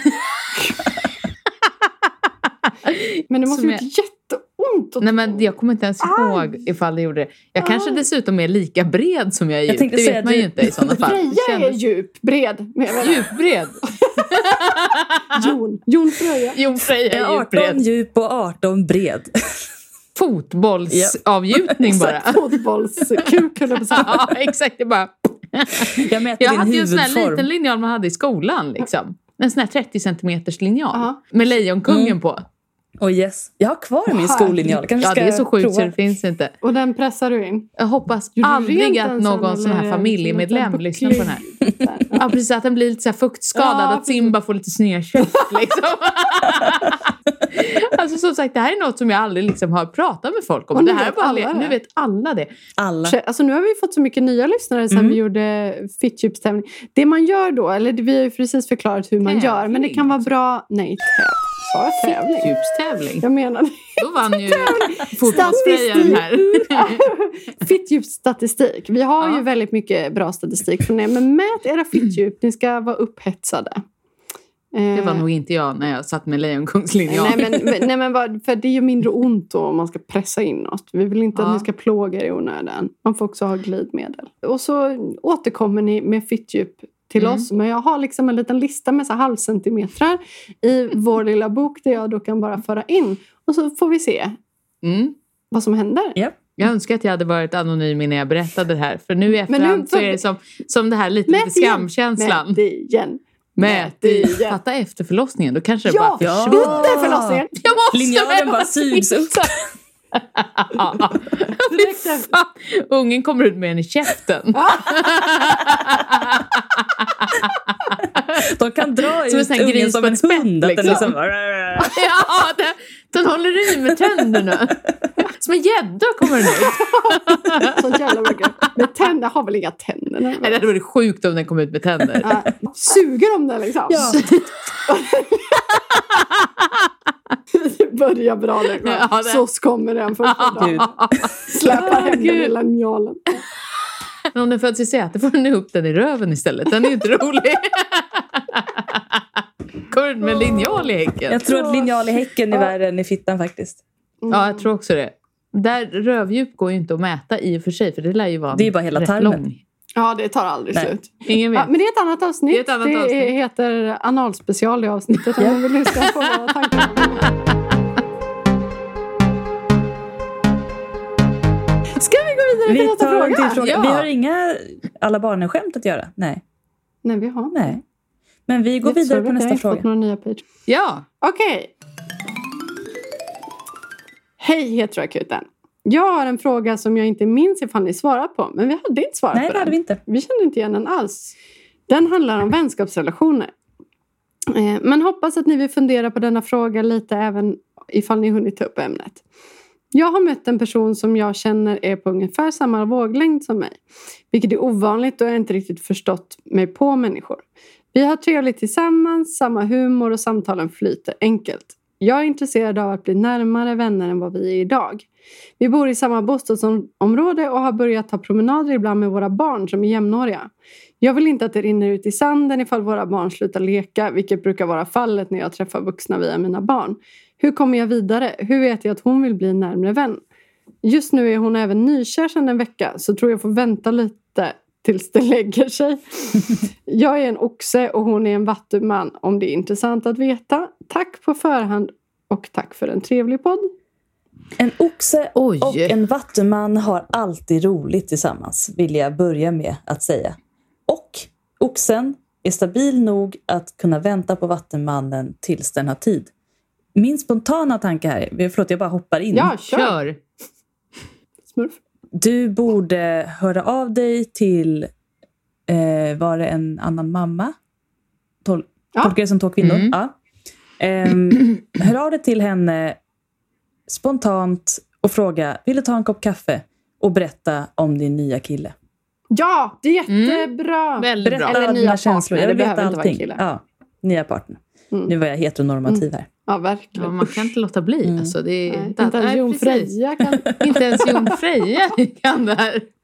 [SPEAKER 4] Men det måste
[SPEAKER 3] som
[SPEAKER 4] ju gjort jätteont. att-
[SPEAKER 3] Nej, men jag kommer inte ens
[SPEAKER 4] Aj.
[SPEAKER 3] ihåg ifall det gjorde det. Jag kanske
[SPEAKER 4] Aj.
[SPEAKER 3] dessutom är lika bred som jag är
[SPEAKER 2] Jag
[SPEAKER 3] djup. Det
[SPEAKER 2] tänkte
[SPEAKER 3] vet
[SPEAKER 2] säga
[SPEAKER 3] man
[SPEAKER 2] du-
[SPEAKER 3] ju inte i sådana fall.
[SPEAKER 4] Freja
[SPEAKER 3] Det
[SPEAKER 4] är
[SPEAKER 3] kändes-
[SPEAKER 4] djup, bred. Men jag menar,
[SPEAKER 3] Djupbred.
[SPEAKER 4] Jon. Jon Freja.
[SPEAKER 3] Jo, Freja
[SPEAKER 2] En
[SPEAKER 3] är
[SPEAKER 2] 18
[SPEAKER 3] djupbred.
[SPEAKER 2] djup och 18 bred.
[SPEAKER 3] Fotbollsavgjutning bara.
[SPEAKER 4] Fotbollskuk höll jag på att säga.
[SPEAKER 3] ja, exakt. Det är bara...
[SPEAKER 2] Jag mäter
[SPEAKER 3] Jag
[SPEAKER 2] din
[SPEAKER 3] hade ju en sån här
[SPEAKER 2] huvudform.
[SPEAKER 3] liten linjal man hade i skolan. Liksom. En sån här 30 centimeters linjal
[SPEAKER 4] Ja.
[SPEAKER 3] med Lejonkungen
[SPEAKER 2] Mm.
[SPEAKER 3] på.
[SPEAKER 2] Oh, yes. Jag har kvar min skollinjal. Kanske
[SPEAKER 3] Ja,
[SPEAKER 2] ska
[SPEAKER 3] det är så sjukt så
[SPEAKER 2] prova.
[SPEAKER 3] det finns inte.
[SPEAKER 4] Och den pressar du in.
[SPEAKER 3] Jag hoppas
[SPEAKER 4] Gjorde du rent
[SPEAKER 3] aldrig att
[SPEAKER 4] den sen,
[SPEAKER 3] någon sån här
[SPEAKER 4] eller
[SPEAKER 3] familjemedlem
[SPEAKER 4] liten
[SPEAKER 3] lyssnar på den här.
[SPEAKER 4] buckling?
[SPEAKER 3] Ja, precis. Att den blir lite så här fuktskadad,
[SPEAKER 4] Ja,
[SPEAKER 3] att Simba får lite snedkött. Liksom. alltså, så, sagt, det här är något som jag aldrig liksom har pratat med folk
[SPEAKER 4] Och
[SPEAKER 3] om.
[SPEAKER 4] nu
[SPEAKER 3] Det här är
[SPEAKER 4] vet
[SPEAKER 3] bara,
[SPEAKER 4] alla det.
[SPEAKER 3] nu vet alla det.
[SPEAKER 2] Alla.
[SPEAKER 4] Tje- Alltså nu har vi fått så mycket nya lyssnare sen
[SPEAKER 2] Mm.
[SPEAKER 4] vi gjorde fittchipstävling. Det man gör då, eller det- vi har ju precis förklarat hur man gör, men det kan vara bra... Nej, täv. Sa jag tävling?
[SPEAKER 3] Djupstävling.
[SPEAKER 4] Jag menade
[SPEAKER 3] Då vann ju fotbollsspelaren
[SPEAKER 4] Statistik.
[SPEAKER 3] här.
[SPEAKER 4] fittdjupsstatistik. Vi har
[SPEAKER 3] Ja.
[SPEAKER 4] ju väldigt mycket bra statistik från er, men mät era fittdjup. Ni ska vara upphetsade.
[SPEAKER 3] Det
[SPEAKER 4] Eh,
[SPEAKER 3] var nog inte jag när jag satt med Lejonkungslinjan.
[SPEAKER 4] Nej men, men- nej, men vad, för det är ju mindre ont då om man ska pressa in något. Vi vill inte
[SPEAKER 3] Ja.
[SPEAKER 4] att ni ska plåga er i onödan. Man får också ha glidmedel. Och så återkommer ni med fittdjup till
[SPEAKER 3] Mm.
[SPEAKER 4] oss. Men jag har liksom en liten lista med så här halvcentimetrar i vår lilla bok där jag då kan bara föra in. Och så får vi se
[SPEAKER 3] Mm.
[SPEAKER 4] vad som händer.
[SPEAKER 3] Jag önskar att jag hade varit anonym innan jag berättade det här. För nu i
[SPEAKER 4] Men nu-
[SPEAKER 3] efterhand så är det som, som det här lite,
[SPEAKER 4] Mät
[SPEAKER 3] lite
[SPEAKER 4] igen.
[SPEAKER 3] skamkänslan.
[SPEAKER 4] Mät igen.
[SPEAKER 3] Mät i. Fatta efter förlossningen. Då kanske det
[SPEAKER 4] Ja!
[SPEAKER 3] bara...
[SPEAKER 2] Ja.
[SPEAKER 4] Under förlossningen!
[SPEAKER 3] Jag måste
[SPEAKER 2] Linjalen bara sugs upp.
[SPEAKER 3] Fy fan. Ungen kommer ut med en i käften.
[SPEAKER 2] De kan dra
[SPEAKER 3] Som en
[SPEAKER 2] ut
[SPEAKER 3] sån här
[SPEAKER 2] ungen
[SPEAKER 3] gris
[SPEAKER 2] som
[SPEAKER 3] på
[SPEAKER 2] en
[SPEAKER 3] ett spett,
[SPEAKER 2] hund. Att den
[SPEAKER 3] liksom.
[SPEAKER 2] liksom...
[SPEAKER 3] Ja, den, den håller i med tänderna. Som en gädda kommer den ut.
[SPEAKER 4] Sånt jävla mycket. Men tänder har väl inga tänder? eller?
[SPEAKER 3] Nej, Det hade varit sjukt om den kom ut med tänder.
[SPEAKER 4] Ja. Suger de den liksom?
[SPEAKER 2] Ja.
[SPEAKER 4] det börjar bra nu. va?
[SPEAKER 3] Ja, det-
[SPEAKER 4] Så kommer den första dagen.
[SPEAKER 2] Gud.
[SPEAKER 4] Släpa
[SPEAKER 3] Åh,
[SPEAKER 4] hem den
[SPEAKER 3] Gud.
[SPEAKER 4] i linjalen.
[SPEAKER 3] Men om den föds i säte får den upp den i röven istället. Den är ju inte rolig. Kommer ut med en linjal i häcken.
[SPEAKER 2] Jag tror att linjal i häcken är värre än i fittan faktiskt.
[SPEAKER 4] Mm.
[SPEAKER 3] Ja, jag tror också det. Där rövdjup går ju inte att mäta i och för sig, för det lär ju vara
[SPEAKER 2] Det är ju bara hela
[SPEAKER 3] rätt
[SPEAKER 2] tarmen.
[SPEAKER 3] lång.
[SPEAKER 4] Ja, det tar aldrig
[SPEAKER 2] Nej.
[SPEAKER 4] slut.
[SPEAKER 3] Ingen vet.
[SPEAKER 4] Ja, men det är ett annat avsnitt.
[SPEAKER 3] Det är ett annat avsnitt.
[SPEAKER 4] heter analspecial i avsnittet om man vill lyssna på våra tankar. Ska vi gå vidare till
[SPEAKER 2] Vi
[SPEAKER 4] nästa
[SPEAKER 2] tar en
[SPEAKER 4] fråga?
[SPEAKER 2] till fråga.
[SPEAKER 3] Ja.
[SPEAKER 2] Vi har inga alla barnen-skämt att göra. Nej.
[SPEAKER 4] Nej, vi har inte.
[SPEAKER 2] Nej. Men vi går
[SPEAKER 4] Det är
[SPEAKER 2] vidare
[SPEAKER 4] sorgligt,
[SPEAKER 2] på
[SPEAKER 4] jag har
[SPEAKER 2] nästa
[SPEAKER 4] inte fått
[SPEAKER 2] fråga.
[SPEAKER 4] några nya page.
[SPEAKER 3] Ja,
[SPEAKER 4] Okej. Hej heteroakuten. Jag har en fråga som jag inte minns ifall ni svarat på, men vi hade inte svarat
[SPEAKER 2] Nej, det
[SPEAKER 4] på den.
[SPEAKER 2] hade vi inte.
[SPEAKER 4] Vi kände inte igen den alls. Den handlar om vänskapsrelationer. Eh, Men hoppas att ni vill fundera på denna fråga lite även ifall ni hunnit ta upp ämnet. Jag har mött en person som jag känner är på ungefär samma våglängd som mig. Vilket är ovanligt då jag inte riktigt förstått mig på människor. Vi har trevligt tillsammans, samma humor och samtalen flyter enkelt. Jag är intresserad av att bli närmare vänner än vad vi är idag. Vi bor i samma bostadsområde och har börjat ta promenader ibland med våra barn som är jämnåriga. Jag vill inte att det rinner ut i sanden ifall våra barn slutar leka, vilket brukar vara fallet när jag träffar vuxna via mina barn. Hur kommer jag vidare? Hur vet jag att hon vill bli en närmare vän? Just nu är hon även nykär sedan en vecka, så tror jag får vänta lite tills det lägger sig. Jag är en oxe och hon är en vattuman, om det är intressant att veta. Tack på förhand och tack för en trevlig podd.
[SPEAKER 2] En oxe
[SPEAKER 3] oj.
[SPEAKER 2] och en vattuman har alltid roligt tillsammans, vill jag börja med att säga. Och oxen är stabil nog att kunna vänta på vattumannen tills den har tid. Min spontana tanke här, är- förlåt jag bara hoppar in.
[SPEAKER 4] Ja, kör!
[SPEAKER 3] Kör.
[SPEAKER 4] Smurf.
[SPEAKER 2] Du borde höra av dig till, eh, var det en annan mamma? Tol-
[SPEAKER 4] Ja.
[SPEAKER 2] Tolkar det som två kvinnor?
[SPEAKER 3] Mm.
[SPEAKER 2] Ja. Ehm, hör av dig till henne spontant och fråga, vill du ta en kopp kaffe? Och berätta om din nya kille.
[SPEAKER 4] Ja, det är
[SPEAKER 3] Mm.
[SPEAKER 4] jättebra!
[SPEAKER 3] Väldigt
[SPEAKER 2] Berätta
[SPEAKER 3] bra.
[SPEAKER 4] Eller
[SPEAKER 2] alla
[SPEAKER 4] nya
[SPEAKER 2] dina
[SPEAKER 4] partner,
[SPEAKER 2] känslor.
[SPEAKER 4] det
[SPEAKER 2] Jag vill veta
[SPEAKER 4] behöver inte vara en
[SPEAKER 2] allting.
[SPEAKER 4] kille.
[SPEAKER 2] Ja, nya partner.
[SPEAKER 4] Mm.
[SPEAKER 2] Nu var jag heteronormativ här.
[SPEAKER 4] Ja,
[SPEAKER 3] Ja,
[SPEAKER 4] verkligen.
[SPEAKER 3] man kan inte låta bli.
[SPEAKER 2] Mm.
[SPEAKER 3] Alltså, det är
[SPEAKER 4] Nej,
[SPEAKER 3] inte,
[SPEAKER 4] inte ens
[SPEAKER 3] nej,
[SPEAKER 4] Jon
[SPEAKER 3] precis.
[SPEAKER 4] Freja kan...
[SPEAKER 3] Inte ens Jon Freja kan det här.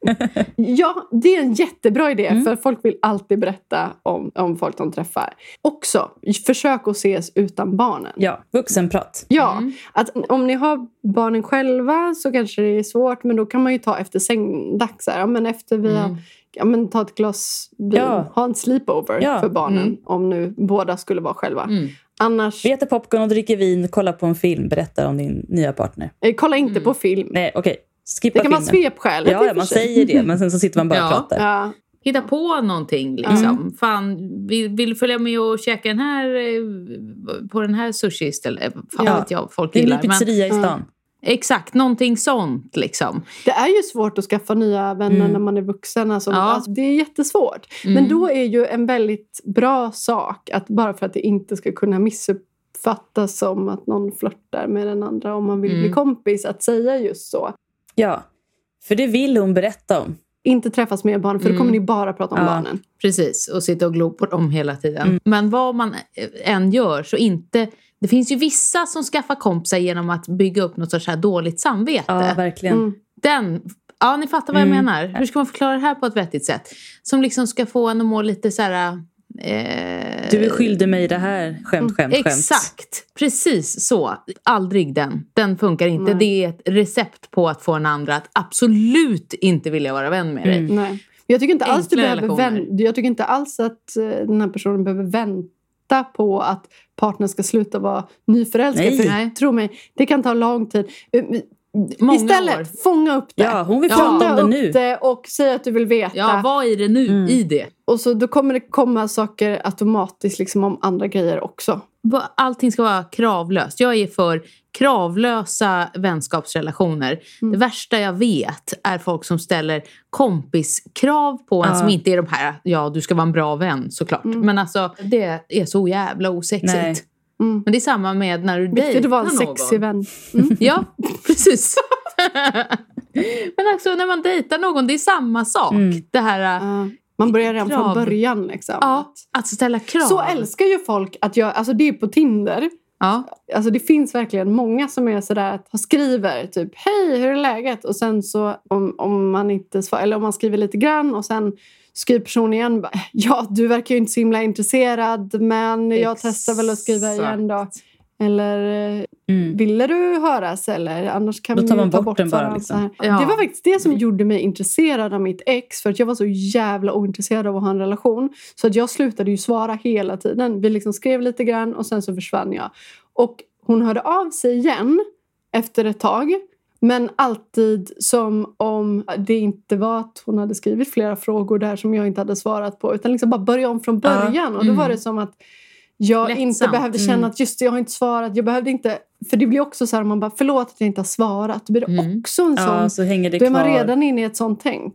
[SPEAKER 4] Ja, det är en jättebra idé.
[SPEAKER 3] Mm.
[SPEAKER 4] För folk vill alltid berätta om, om folk de träffar. Också, försök att ses utan barnen.
[SPEAKER 2] Ja, vuxenprat.
[SPEAKER 4] Ja,
[SPEAKER 3] Mm.
[SPEAKER 4] att om ni har barnen själva så kanske det är svårt. Men då kan man ju ta efter sängdags. så här, Ja, men efter vi har,
[SPEAKER 3] Mm.
[SPEAKER 4] ja, men ta ett glas vin.
[SPEAKER 2] Ja.
[SPEAKER 4] Ha en sleepover
[SPEAKER 2] Ja.
[SPEAKER 4] för barnen.
[SPEAKER 3] Mm.
[SPEAKER 4] Om nu båda skulle vara själva.
[SPEAKER 3] Mm.
[SPEAKER 4] Annars,
[SPEAKER 2] Vi äter popcorn och dricker vin, kollar på en film, berättar om din nya partner.
[SPEAKER 4] eh, kolla inte
[SPEAKER 3] Mm.
[SPEAKER 4] på film.
[SPEAKER 2] Nej, okej. Skippa
[SPEAKER 4] Det kan vara
[SPEAKER 2] filmen.
[SPEAKER 4] svepskälet i och
[SPEAKER 2] Ja,
[SPEAKER 4] för
[SPEAKER 2] man
[SPEAKER 4] sig.
[SPEAKER 2] säger det, men sen så sitter man bara och
[SPEAKER 3] Ja.
[SPEAKER 2] pratar.
[SPEAKER 4] Ja,
[SPEAKER 3] Hitta på någonting. Liksom. Fan, vill, vill du följa med och käka den här, eh, på den här sushi istället? Eh, Fan
[SPEAKER 2] Ja.
[SPEAKER 3] vet jag vad folk
[SPEAKER 2] Det är en ny
[SPEAKER 3] gillar. Men,
[SPEAKER 2] pizzeria i
[SPEAKER 4] Ja.
[SPEAKER 2] stan.
[SPEAKER 3] exakt, någonting sånt. Liksom.
[SPEAKER 4] Det är ju svårt att skaffa nya vänner
[SPEAKER 2] Mm.
[SPEAKER 4] när man är vuxen. Alltså,
[SPEAKER 3] Ja.
[SPEAKER 4] alltså, det är jättesvårt.
[SPEAKER 3] Mm.
[SPEAKER 4] Men då är ju en väldigt bra sak, att bara för att det inte ska kunna missupp uppfattas som att någon flörtar med den andra om man vill bli
[SPEAKER 3] Mm.
[SPEAKER 4] kompis, att säga just så.
[SPEAKER 2] Ja, för det vill hon berätta om.
[SPEAKER 4] Inte träffas mer barn, för då kommer
[SPEAKER 3] Mm.
[SPEAKER 4] ni bara prata om
[SPEAKER 2] Ja.
[SPEAKER 4] barnen.
[SPEAKER 3] Precis, och sitta och glo på dem hela tiden.
[SPEAKER 2] Mm.
[SPEAKER 3] Men vad man eh, än gör så inte... Det finns ju vissa som skaffar kompisar genom att bygga upp något sorts här dåligt samvete.
[SPEAKER 2] Ja, verkligen.
[SPEAKER 4] Mm.
[SPEAKER 3] Den... Ja, ni fattar vad jag
[SPEAKER 2] Mm.
[SPEAKER 3] menar. Hur ska man förklara det här på ett vettigt sätt? Som liksom ska få en att må lite så här... Eh,
[SPEAKER 2] Du är skyldig mig det här. Skämt, skämt, skämt.
[SPEAKER 3] Exakt, precis så. Aldrig den. Den funkar inte.
[SPEAKER 4] Nej.
[SPEAKER 3] Det är ett recept på att få en andra att absolut inte vilja vara vän med dig.
[SPEAKER 2] Mm.
[SPEAKER 4] Nej. Men Jag tycker, inte alls du
[SPEAKER 3] Enkla
[SPEAKER 4] behöver
[SPEAKER 3] relationer.
[SPEAKER 4] vän- jag tycker inte alls att eh, den här personen behöver vänta på att partnern ska sluta vara nyförälskad.
[SPEAKER 2] Nej.
[SPEAKER 4] För
[SPEAKER 3] Nej.
[SPEAKER 4] tro mig, det kan ta lång tid. Eh,
[SPEAKER 3] Många
[SPEAKER 4] Istället,
[SPEAKER 3] år.
[SPEAKER 4] fånga upp det.
[SPEAKER 2] Ja, hon vill
[SPEAKER 3] Ja.
[SPEAKER 2] prata om
[SPEAKER 4] Fånga
[SPEAKER 2] det
[SPEAKER 4] upp
[SPEAKER 2] nu.
[SPEAKER 4] det och säg att du vill veta.
[SPEAKER 3] Ja, vad är det nu
[SPEAKER 2] Mm.
[SPEAKER 3] i det?
[SPEAKER 4] Och så, då kommer det komma saker automatiskt liksom, om andra grejer också.
[SPEAKER 3] Va- Allting ska vara kravlöst. Jag är för kravlösa vänskapsrelationer.
[SPEAKER 4] Mm.
[SPEAKER 3] Det värsta jag vet är folk som ställer kompiskrav på en
[SPEAKER 2] Ja.
[SPEAKER 3] som inte är de här, ja du ska vara en bra vän såklart.
[SPEAKER 4] Mm.
[SPEAKER 3] Men alltså det är så jävla osexigt.
[SPEAKER 2] Nej.
[SPEAKER 4] Mm.
[SPEAKER 3] Men det är samma med när du
[SPEAKER 4] Viktigt
[SPEAKER 3] dejtar
[SPEAKER 4] att vara en
[SPEAKER 3] någon.
[SPEAKER 4] sexig vän.
[SPEAKER 3] Ja, precis. Men också när man dejtar någon, det är samma sak.
[SPEAKER 2] Mm.
[SPEAKER 3] Det här äh,
[SPEAKER 4] Ja. Eh, man börjar redan
[SPEAKER 3] Krav.
[SPEAKER 4] från början. Liksom.
[SPEAKER 3] Ja. att ställa krav.
[SPEAKER 4] Så älskar ju folk att jag... Alltså det är på Tinder.
[SPEAKER 3] ja.
[SPEAKER 4] Alltså det finns verkligen många som är sådär att de skriver typ hej hur är läget och sen så om, om man inte svarar eller om man skriver lite grann och sen skriver personen igen bara, ja du verkar ju inte så himla intresserad men jag testar väl att skriva igen då
[SPEAKER 3] Exakt.
[SPEAKER 4] eller eh,
[SPEAKER 2] Mm.
[SPEAKER 4] ville du höras eller annars kan
[SPEAKER 2] Då
[SPEAKER 4] vi
[SPEAKER 2] tar
[SPEAKER 4] ju
[SPEAKER 2] man
[SPEAKER 4] ta
[SPEAKER 2] bort den bara,
[SPEAKER 4] varandra
[SPEAKER 2] liksom.
[SPEAKER 4] så här.
[SPEAKER 3] Ja.
[SPEAKER 4] Det var faktiskt det som gjorde mig intresserad av mitt ex för att jag var så jävla ointresserad av att ha en relation så att jag slutade ju svara hela tiden. Vi liksom skrev lite grann och sen så försvann jag. Och hon hörde av sig igen efter ett tag men alltid som om det inte var att hon hade skrivit flera frågor där som jag inte hade svarat på utan liksom bara börja om från början och då var
[SPEAKER 3] Mm.
[SPEAKER 4] det som att jag inte
[SPEAKER 3] Lättsamt.
[SPEAKER 4] behövde känna
[SPEAKER 2] Mm.
[SPEAKER 4] att just det, jag har inte svarat. Jag behövde inte, för det blir också så här, man bara förlåt att jag inte har svarat. Då blir det
[SPEAKER 3] Mm.
[SPEAKER 4] också en sån,
[SPEAKER 2] Ja, så hänger det
[SPEAKER 4] då är man
[SPEAKER 2] kvar.
[SPEAKER 4] redan inne i ett sånt tänk.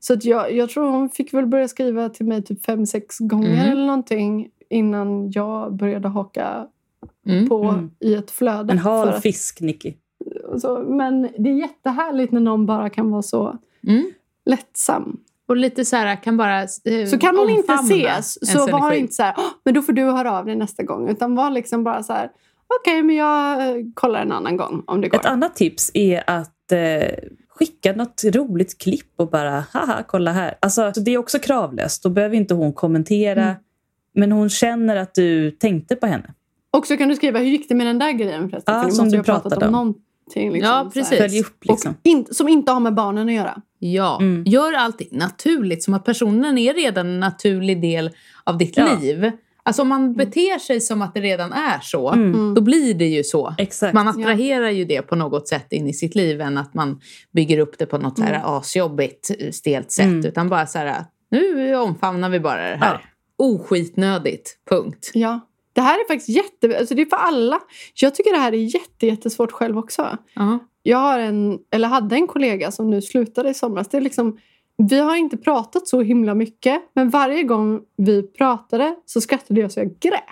[SPEAKER 4] Så att jag, jag tror hon fick väl börja skriva till mig typ fem, sex gånger
[SPEAKER 3] Mm.
[SPEAKER 4] eller någonting innan jag började haka
[SPEAKER 3] Mm.
[SPEAKER 4] på
[SPEAKER 2] Mm.
[SPEAKER 4] i ett flöde.
[SPEAKER 2] En
[SPEAKER 4] för
[SPEAKER 2] hal
[SPEAKER 4] att-
[SPEAKER 2] fisk, Nicky.
[SPEAKER 4] så, men det är jättehärligt när någon bara kan vara så
[SPEAKER 3] Mm.
[SPEAKER 4] lättsam.
[SPEAKER 3] Och lite så här, kan bara eh,
[SPEAKER 4] Så kan hon inte
[SPEAKER 3] omfamna
[SPEAKER 4] ses, så
[SPEAKER 3] ens
[SPEAKER 4] var
[SPEAKER 3] energi.
[SPEAKER 4] inte så här, "Åh, men då får du höra av dig nästa gång. Utan var liksom bara så här, okej, men jag eh, kollar en annan gång om det går.
[SPEAKER 2] Ett annat tips är att eh, skicka något roligt klipp och bara haha, kolla här. Alltså, så det är också kravlöst. Då behöver inte hon kommentera. Men hon känner att du tänkte på henne.
[SPEAKER 4] Och så kan du skriva, hur gick det med den där grejen förresten?
[SPEAKER 2] Ja,
[SPEAKER 4] För
[SPEAKER 2] som du
[SPEAKER 4] måste ju ha pratat
[SPEAKER 2] pratade
[SPEAKER 4] om.
[SPEAKER 2] om.
[SPEAKER 4] Någonting, liksom,
[SPEAKER 3] Ja,
[SPEAKER 4] så här.
[SPEAKER 3] precis.
[SPEAKER 2] Följ upp liksom.
[SPEAKER 4] Och in, som inte har med barnen att göra.
[SPEAKER 3] Ja,
[SPEAKER 2] Mm.
[SPEAKER 3] gör allting naturligt. Som att personen är redan en naturlig del av ditt
[SPEAKER 2] Ja.
[SPEAKER 3] liv. Alltså om
[SPEAKER 4] Mm.
[SPEAKER 3] man beter sig som att det redan är så,
[SPEAKER 2] Mm.
[SPEAKER 3] då blir det ju så.
[SPEAKER 2] Exakt.
[SPEAKER 3] Man attraherar ju det på något sätt in i sitt liv än att man bygger upp det på något så här
[SPEAKER 4] Mm.
[SPEAKER 3] asjobbigt, eh, stelt sätt.
[SPEAKER 2] Mm.
[SPEAKER 3] Utan bara så här, nu omfamnar vi bara det här.
[SPEAKER 2] Ja.
[SPEAKER 3] Oskitnödigt, punkt.
[SPEAKER 4] Ja. Det här är faktiskt jätte... Alltså det är för alla. Jag tycker det här är jätte, jättesvårt själv också.
[SPEAKER 3] Ja.
[SPEAKER 4] Jag har en, eller hade en kollega som nu slutade i somras. Det är liksom, vi har inte pratat så himla mycket, men varje gång vi pratade så skrattade jag så jag grät.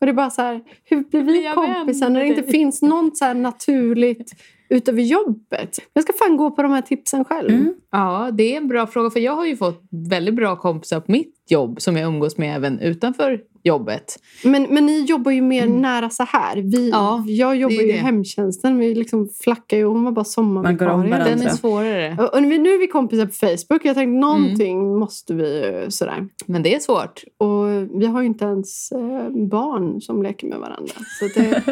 [SPEAKER 4] Och det är bara så här, hur blir
[SPEAKER 3] Blir
[SPEAKER 4] vi
[SPEAKER 3] jag
[SPEAKER 4] kompisar
[SPEAKER 3] vän
[SPEAKER 4] när det
[SPEAKER 3] med
[SPEAKER 4] inte
[SPEAKER 3] dig?
[SPEAKER 4] finns något så här naturligt utöver jobbet? Jag ska fan gå på de här tipsen själv.
[SPEAKER 2] Mm.
[SPEAKER 3] Ja, det är en bra fråga. För jag har ju fått väldigt bra kompisar på mitt jobb som jag umgås med även utanför jobbet.
[SPEAKER 4] Men, men ni jobbar ju mer nära så här. Vi,
[SPEAKER 3] Mm. Ja,
[SPEAKER 4] jag jobbar
[SPEAKER 3] det är
[SPEAKER 4] ju i
[SPEAKER 3] det.
[SPEAKER 4] hemtjänsten. Vi liksom flackar ju om och bara
[SPEAKER 2] Man går om
[SPEAKER 4] sommarvikarier.
[SPEAKER 2] varandra.
[SPEAKER 3] Den är
[SPEAKER 2] Alltså.
[SPEAKER 3] svårare.
[SPEAKER 4] Och- och nu är vi kompisar på Facebook. Jag
[SPEAKER 3] Mm.
[SPEAKER 4] tänkte någonting måste vi eh, sådär.
[SPEAKER 3] Men det är svårt.
[SPEAKER 4] Och vi har ju inte ens eh, barn som leker med varandra. Så det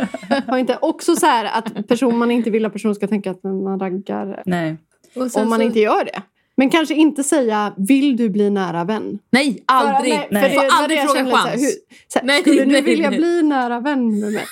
[SPEAKER 4] har inte, också så här att person, man inte vill att personen ska tänka att man raggar.
[SPEAKER 2] Nej.
[SPEAKER 3] Och sen
[SPEAKER 4] Om man
[SPEAKER 3] så-
[SPEAKER 4] inte gör det. Men kanske inte säga “vill du bli nära vän?”
[SPEAKER 3] Nej, aldrig!
[SPEAKER 4] För,
[SPEAKER 2] Nej.
[SPEAKER 4] nej, för
[SPEAKER 3] Får
[SPEAKER 4] det,
[SPEAKER 3] aldrig
[SPEAKER 4] aldrig det
[SPEAKER 3] fråga
[SPEAKER 4] jag kände, så här,
[SPEAKER 3] chans.
[SPEAKER 4] hur, så här,
[SPEAKER 3] Nej,
[SPEAKER 4] skulle du
[SPEAKER 3] nej,
[SPEAKER 4] vilja
[SPEAKER 3] nej.
[SPEAKER 4] bli nära vän med mig?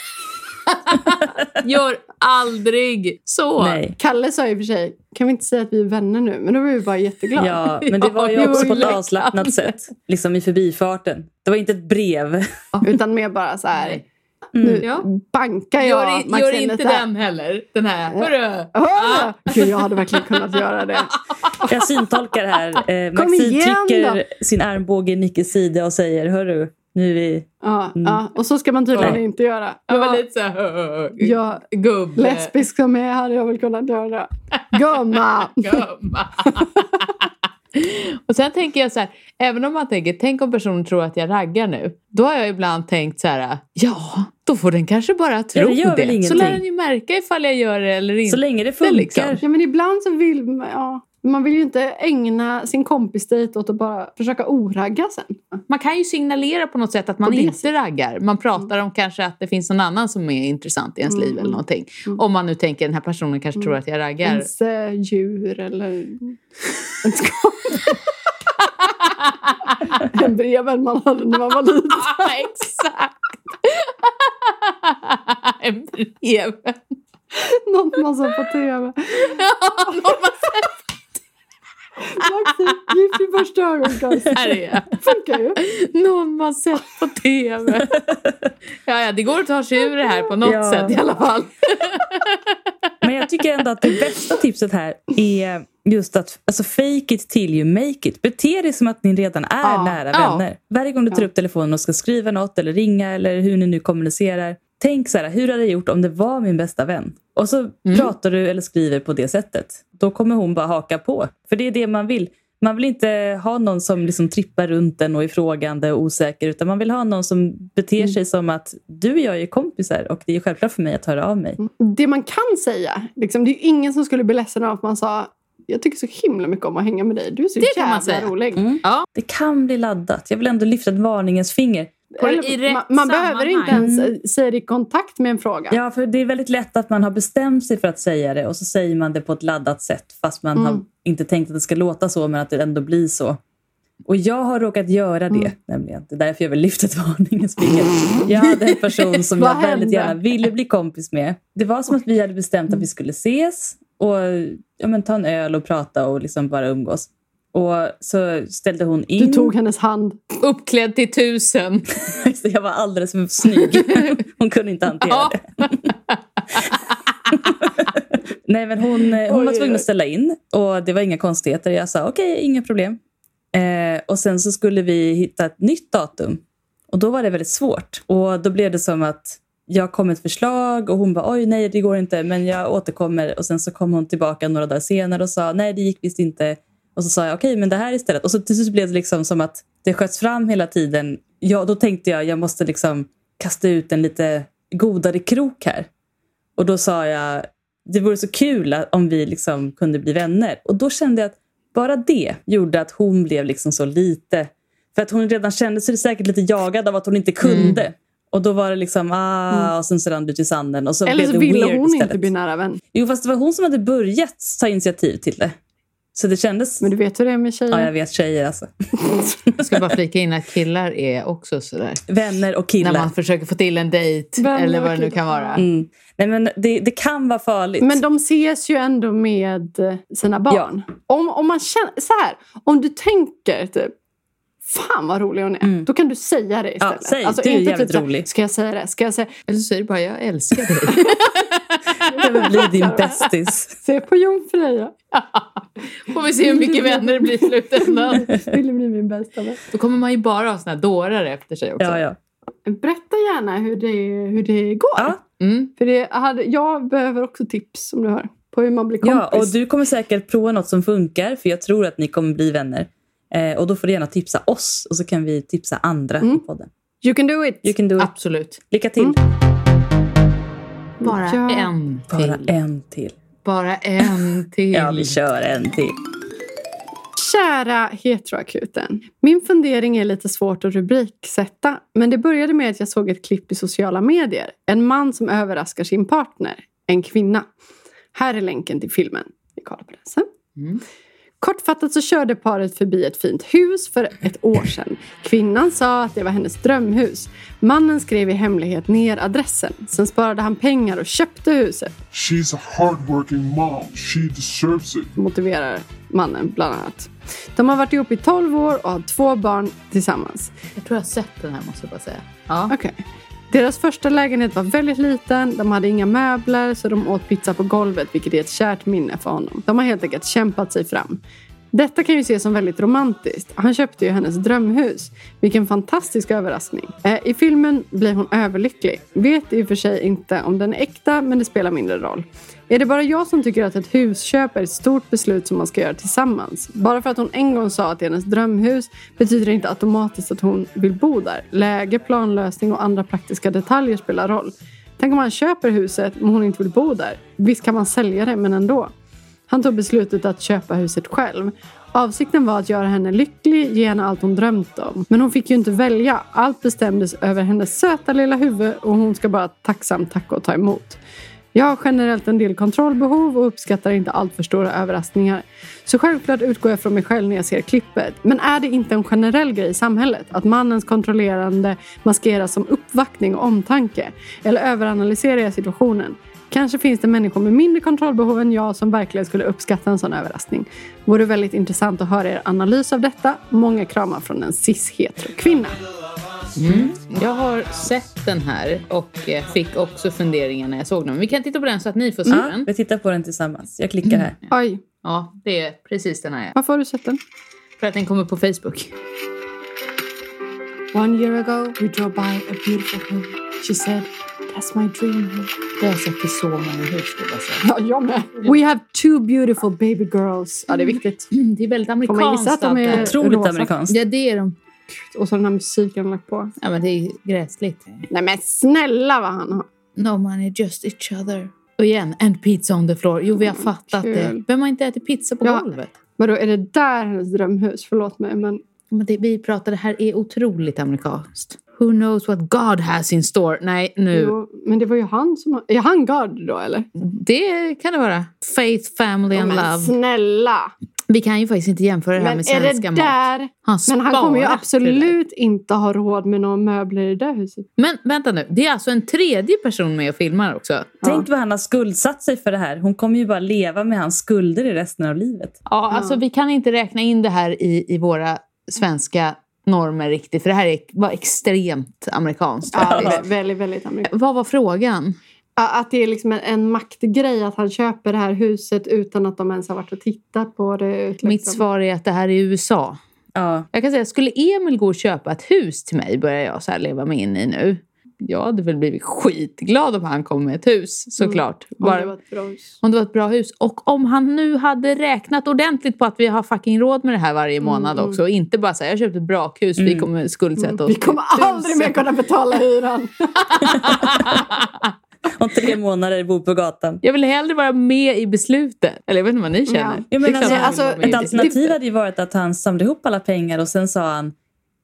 [SPEAKER 3] Gör aldrig så!
[SPEAKER 2] Nej.
[SPEAKER 4] Kalle sa i och för sig, kan vi inte säga att vi är vänner nu? Men då var vi bara jätteglada.
[SPEAKER 2] Ja, men det var ju
[SPEAKER 3] Ja,
[SPEAKER 2] också på ett
[SPEAKER 3] verkligen.
[SPEAKER 2] avslappnat sätt. Liksom i förbifarten. Det var inte ett brev.
[SPEAKER 4] Utan mer bara så här,
[SPEAKER 3] Nej.
[SPEAKER 4] nu
[SPEAKER 3] Ja.
[SPEAKER 4] bankar jag
[SPEAKER 3] Gör, i- gör
[SPEAKER 4] Maxine
[SPEAKER 3] inte
[SPEAKER 4] lite här.
[SPEAKER 3] den heller. Den här. Hörru!
[SPEAKER 4] Åh! Gud, jag hade verkligen kunnat göra det.
[SPEAKER 2] Jag syntolkar här. Eh,
[SPEAKER 4] Kom
[SPEAKER 2] Maxine
[SPEAKER 4] igen
[SPEAKER 2] trycker sin armbåge i Nickes sida och säger Hörru, Nu är vi...
[SPEAKER 4] Ja,
[SPEAKER 2] Mm.
[SPEAKER 4] ja. Och så ska man tydligen
[SPEAKER 2] Nej.
[SPEAKER 4] inte göra.
[SPEAKER 3] Jag var
[SPEAKER 4] Ja,
[SPEAKER 3] lite så här...
[SPEAKER 4] jag,
[SPEAKER 3] Gubbe.
[SPEAKER 4] lesbisk som jag är hade jag väl kunnat göra. Gumma!
[SPEAKER 3] Gumma. och sen tänker jag så här, även om man tänker, tänk om personen tror att jag raggar nu. Då har jag ibland tänkt så här, ja, då får den kanske bara tro
[SPEAKER 2] gör väl
[SPEAKER 3] det. Så
[SPEAKER 2] ingenting.
[SPEAKER 3] lär den ju märka ifall jag gör det eller inte.
[SPEAKER 2] Så länge det funkar.
[SPEAKER 3] liksom.
[SPEAKER 4] Ja, men ibland så vill man... Ja. Man vill ju inte ägna sin kompis dejt åt att bara försöka oragga sen.
[SPEAKER 3] Man kan ju signalera på något sätt att man
[SPEAKER 4] På det
[SPEAKER 3] inte raggar. Man pratar om kanske att det finns någon annan som är intressant i ens
[SPEAKER 4] Mm.
[SPEAKER 3] liv eller någonting.
[SPEAKER 4] Mm.
[SPEAKER 3] Om man nu tänker den här personen kanske
[SPEAKER 4] Mm.
[SPEAKER 3] tror att jag raggar.
[SPEAKER 4] Ens eh, djur eller den breven man hade när man var liten.
[SPEAKER 3] Ah, Exakt! en brev.
[SPEAKER 4] Något man såg på tv.
[SPEAKER 3] Ja, någon man
[SPEAKER 4] Maxi, Gift i första ögonkastet.
[SPEAKER 3] Här är jag.
[SPEAKER 4] Funkar ju.
[SPEAKER 3] Någon man sett på tv. Ja, ja, det går att ta sig ur det här på något
[SPEAKER 2] Ja.
[SPEAKER 3] sätt i alla fall.
[SPEAKER 2] Men jag tycker ändå att det bästa tipset här är just att alltså, fake it till you make it. Bete dig som att ni redan är
[SPEAKER 4] Ja,
[SPEAKER 2] nära
[SPEAKER 3] ja.
[SPEAKER 2] vänner. Varje gång du tar upp telefonen och ska skriva något eller ringa eller hur ni nu kommunicerar. Tänk så här, hur hade jag gjort om det var min bästa vän? Och så
[SPEAKER 3] Mm.
[SPEAKER 2] pratar du eller skriver på det sättet. Då kommer hon bara haka på. För det är det man vill. Man vill inte ha någon som liksom trippar runt en och är frågande och osäker. Utan man vill ha någon som beter
[SPEAKER 3] Mm.
[SPEAKER 2] sig som att du och jag är kompisar och det är självklart för mig att höra av mig.
[SPEAKER 4] Det man kan säga, liksom, det är ju ingen som skulle bli ledsen av att man sa jag tycker så himla mycket om att hänga med dig. Du är så
[SPEAKER 3] Det kan man
[SPEAKER 4] jävla
[SPEAKER 3] säga. Mm.
[SPEAKER 4] rolig.
[SPEAKER 2] Det kan bli laddat. Jag vill ändå lyfta ett varningens finger.
[SPEAKER 3] Eller i
[SPEAKER 4] Eller,
[SPEAKER 3] rätt
[SPEAKER 4] man man behöver inte
[SPEAKER 3] sammanhang. Mm.
[SPEAKER 4] ens eh, säga det i kontakt med en fråga.
[SPEAKER 2] Ja, för det är väldigt lätt att man har bestämt sig för att säga det och så säger man det på ett laddat sätt fast man
[SPEAKER 4] Mm.
[SPEAKER 2] har inte tänkt att det ska låta så men att det ändå blir så. Och jag har råkat göra det,
[SPEAKER 4] Mm.
[SPEAKER 2] nämligen. Det är därför jag vill lyfta ett varningens finger. Jag hade en person som
[SPEAKER 4] Vad
[SPEAKER 2] jag väldigt
[SPEAKER 4] hände?
[SPEAKER 2] gärna ville bli kompis med. Det var som att vi hade bestämt att vi skulle ses och ja, men, ta en öl och prata och liksom bara umgås. Och så ställde hon in.
[SPEAKER 4] Du tog hennes
[SPEAKER 2] Mm.
[SPEAKER 4] hand.
[SPEAKER 3] Uppklädd till tusen.
[SPEAKER 2] Så jag var alldeles för snygg. Hon kunde inte hantera
[SPEAKER 3] Ja.
[SPEAKER 2] det. Nej, men hon, eh, hon
[SPEAKER 4] Oj,
[SPEAKER 2] var tvungen
[SPEAKER 4] oj.
[SPEAKER 2] att ställa in och det var inga konstigheter. Jag sa okej, inga problem. Eh, och sen så skulle vi hitta ett nytt datum och då var det väldigt svårt. Och då blev det som att jag kom med ett förslag och hon bara oj nej det går inte men jag återkommer och sen så kom hon tillbaka några dagar senare och sa nej det gick visst inte och så sa jag okej men det här istället och så till slut blev det liksom som att det sköts fram hela tiden. Ja, då tänkte jag jag måste liksom kasta ut en lite godare krok här och då sa jag det vore så kul att- om vi liksom kunde bli vänner och då kände jag att bara det gjorde att hon blev liksom så lite för att hon redan kände sig säkert lite jagad av att hon
[SPEAKER 4] Mm.
[SPEAKER 2] inte kunde. Och då var det liksom ah, och sen så rann du till sanden. Och så
[SPEAKER 4] Eller
[SPEAKER 2] blev
[SPEAKER 4] så
[SPEAKER 2] det
[SPEAKER 4] ville
[SPEAKER 2] weird
[SPEAKER 4] hon
[SPEAKER 2] istället.
[SPEAKER 4] inte bli nära vän.
[SPEAKER 2] Jo, fast det var hon som hade börjat ta initiativ till det. Så det kändes...
[SPEAKER 4] Men du vet hur det är med tjejer.
[SPEAKER 2] Ja, jag vet tjejer alltså.
[SPEAKER 3] Jag ska bara flika in att killar är också sådär.
[SPEAKER 2] Vänner och
[SPEAKER 3] När
[SPEAKER 2] killar.
[SPEAKER 3] man försöker få till en dejt
[SPEAKER 4] Vänner
[SPEAKER 3] eller vad
[SPEAKER 4] och
[SPEAKER 3] det nu
[SPEAKER 4] killar.
[SPEAKER 3] kan vara.
[SPEAKER 2] mm. Nej, men det, det kan vara farligt.
[SPEAKER 4] Men de ses ju ändå med eh, sina barn. Om, om man känner, så här, om du tänker typ Fan vad rolig hon är.
[SPEAKER 2] Mm.
[SPEAKER 4] Då kan du säga det istället. Alltså, typ
[SPEAKER 2] säg, du är jävligt
[SPEAKER 4] så här,
[SPEAKER 2] rolig.
[SPEAKER 4] Ska jag säga det? Ska jag säga
[SPEAKER 3] Eller så säger du bara jag älskar dig.
[SPEAKER 2] Det vill bli din bästis.
[SPEAKER 4] Se på jungfruja.
[SPEAKER 3] Får vi se hur mycket vänner det blir i slutändan.
[SPEAKER 4] Vill du bli min bästa vän?
[SPEAKER 3] Då kommer man ju bara ha såna här dårar efter sig också.
[SPEAKER 2] Ja, ja.
[SPEAKER 4] Berätta gärna hur det, hur det går.
[SPEAKER 2] Ja.
[SPEAKER 3] Mm.
[SPEAKER 4] För det hade, jag behöver också tips som du hör. På hur man blir kompis.
[SPEAKER 2] ja, och du kommer säkert prova något som funkar. För jag tror att ni kommer bli vänner. Eh, och då får du gärna tipsa oss. Och så kan vi tipsa andra
[SPEAKER 4] Mm.
[SPEAKER 2] i podden.
[SPEAKER 4] You can do it.
[SPEAKER 2] You can do it.
[SPEAKER 3] Absolut.
[SPEAKER 2] Lycka till.
[SPEAKER 4] Mm.
[SPEAKER 3] Bara
[SPEAKER 4] Ja.
[SPEAKER 3] en till.
[SPEAKER 2] Bara en till.
[SPEAKER 3] Bara en till.
[SPEAKER 2] Ja, vi kör en till.
[SPEAKER 4] Kära heteroakuten. Min fundering är lite svårt att rubriksätta. Men det började med att jag såg ett klipp i sociala medier. En man som överraskar sin partner. En kvinna. Här är länken till filmen. Vi kollar på den sen.
[SPEAKER 3] Mm.
[SPEAKER 4] Kortfattat så körde paret förbi ett fint hus för ett år sedan. Kvinnan sa att det var hennes drömhus. Mannen skrev i hemlighet ner adressen. Sen sparade han pengar och köpte huset.
[SPEAKER 7] She's a hardworking mom. She deserves it.
[SPEAKER 4] motiverar mannen bland annat. De har varit ihop i 12 år och har två barn tillsammans.
[SPEAKER 3] Jag tror jag har sett den här måste jag bara säga. Ja.
[SPEAKER 4] Okej. Deras första lägenhet var väldigt liten, de hade inga möbler så de åt pizza på golvet vilket är ett kärt minne för honom. De har helt enkelt kämpat sig fram. Detta kan ju ses som väldigt romantiskt. Han köpte ju hennes drömhus. Vilken fantastisk överraskning. Eh, I filmen blir hon överlycklig. Vet i och för sig inte om den är äkta, men det spelar mindre roll. Är det bara jag som tycker att ett husköp är ett stort beslut som man ska göra tillsammans? Bara för att hon en gång sa att det är hennes drömhus betyder det inte automatiskt att hon vill bo där. Läge, planlösning och andra praktiska detaljer spelar roll. Tänk om han köper huset men hon inte vill bo där. Visst kan man sälja det, men ändå. Han tog beslutet att köpa huset själv. Avsikten var att göra henne lycklig, ge henne allt hon drömt om. Men hon fick ju inte välja. Allt bestämdes över hennes söta lilla huvud och hon ska bara tacksamt tacka och ta emot. Jag har generellt en del kontrollbehov och uppskattar inte alltför stora överraskningar. Så självklart utgår jag från mig själv när jag ser klippet. Men är det inte en generell grej i samhället att mannens kontrollerande maskeras som uppvaktning och omtanke? Eller överanalyserar jag situationen? Kanske finns det människor med mindre kontrollbehov än jag som verkligen skulle uppskatta en sån överraskning. Vore väldigt intressant att höra er analys av detta. Många kramar från en cis-hetero-kvinna.
[SPEAKER 3] Jag har sett den här och eh, fick också funderingar när jag såg den. Men Vi kan titta på den så att ni får se
[SPEAKER 4] Mm.
[SPEAKER 3] den.
[SPEAKER 2] Vi tittar på den tillsammans. Jag klickar här.
[SPEAKER 4] Oj,
[SPEAKER 3] Ja, det är precis den här.
[SPEAKER 4] varför har du sett den?
[SPEAKER 3] För att den kommer på Facebook.
[SPEAKER 4] One year ago we drove by a beautiful home. She said, that's my dream home.
[SPEAKER 3] Det har jag sett i så många hus. skulle jag säga.
[SPEAKER 4] Ja, jag med. We have two beautiful baby girls. Ja, det är viktigt.
[SPEAKER 3] Mm, Det är väldigt
[SPEAKER 4] Får man gissa
[SPEAKER 3] amerikanskt.
[SPEAKER 4] att
[SPEAKER 3] allt
[SPEAKER 4] de
[SPEAKER 3] det
[SPEAKER 4] är
[SPEAKER 3] här.
[SPEAKER 2] Otroligt
[SPEAKER 4] rosa?
[SPEAKER 2] amerikanskt.
[SPEAKER 3] Ja, det är de.
[SPEAKER 4] Och så den här musiken han lagt på.
[SPEAKER 3] Ja, men det är gräsligt.
[SPEAKER 4] Nej men snälla vad han har.
[SPEAKER 3] No money, just each other. Och igen, and pizza on the floor. Jo, vi har fattat
[SPEAKER 4] kul.
[SPEAKER 3] det. Vem har inte ätit pizza på
[SPEAKER 4] Ja.
[SPEAKER 3] golvet?
[SPEAKER 4] Vadå, är det där hennes drömhus? Förlåt mig, men
[SPEAKER 3] Men det vi pratar, det här är otroligt amerikanskt. Who knows what God has in store? Nej, nu.
[SPEAKER 4] Jo, men det var ju han som... Är han God då eller?
[SPEAKER 3] Det kan det vara. Faith, family
[SPEAKER 4] Ja,
[SPEAKER 3] and
[SPEAKER 4] men
[SPEAKER 3] love.
[SPEAKER 4] snälla!
[SPEAKER 3] Vi kan ju faktiskt inte jämföra det här
[SPEAKER 4] Men
[SPEAKER 3] med
[SPEAKER 4] är
[SPEAKER 3] svenska
[SPEAKER 4] det
[SPEAKER 3] mat.
[SPEAKER 4] där...
[SPEAKER 3] Han
[SPEAKER 4] Men han
[SPEAKER 3] sparar
[SPEAKER 4] kommer ju
[SPEAKER 3] till det.
[SPEAKER 4] absolut inte ha råd med några möbler i det där huset.
[SPEAKER 3] Men vänta nu, det är alltså en tredje person med och filmar också.
[SPEAKER 2] Tänk vad han har skuldsatt sig för det här. Hon kommer ju bara leva med hans skulder i resten av livet.
[SPEAKER 3] Ja, alltså vi kan inte räkna in det här i, i våra svenska normer riktigt, för det här är, var extremt amerikanskt.
[SPEAKER 4] Ja,
[SPEAKER 3] faktiskt.
[SPEAKER 4] det är väldigt, väldigt amerikanskt.
[SPEAKER 3] Vad var frågan?
[SPEAKER 4] Ja, Att det är liksom en, en maktgrej att han köper det här huset utan att de ens har varit och tittat på det. Liksom.
[SPEAKER 3] Mitt svar är att det här är USA.
[SPEAKER 2] Ja.
[SPEAKER 3] Jag kan säga, skulle Emil gå och köpa ett hus till mig, börjar jag så här leva mig in i nu. Jag hade väl blivit skitglad om han kom med ett hus, såklart.
[SPEAKER 4] Om
[SPEAKER 3] Bara,
[SPEAKER 4] det var ett bra hus.
[SPEAKER 3] om det var ett bra hus. Och om han nu hade räknat ordentligt på att vi har fucking råd med det här
[SPEAKER 4] Mm,
[SPEAKER 3] varje månad också. Och inte bara säga jag köpte ett brakhus, vi kommer skuldsätta oss.
[SPEAKER 4] Mm. Vi kommer
[SPEAKER 3] till
[SPEAKER 4] aldrig mer
[SPEAKER 3] tusen."
[SPEAKER 4] kunna betala hyran.
[SPEAKER 2] Om tre månader bor på gatan.
[SPEAKER 3] Jag vill hellre vara med i beslutet. Eller jag vet inte vad ni känner.
[SPEAKER 4] Ja.
[SPEAKER 2] Jo,
[SPEAKER 3] Det är
[SPEAKER 2] men
[SPEAKER 3] klart
[SPEAKER 2] alltså,
[SPEAKER 3] jag vill
[SPEAKER 4] alltså,
[SPEAKER 3] vara med
[SPEAKER 2] Ett
[SPEAKER 3] i beslutet.
[SPEAKER 2] alternativ hade ju varit att han samlade ihop alla pengar och sen sa han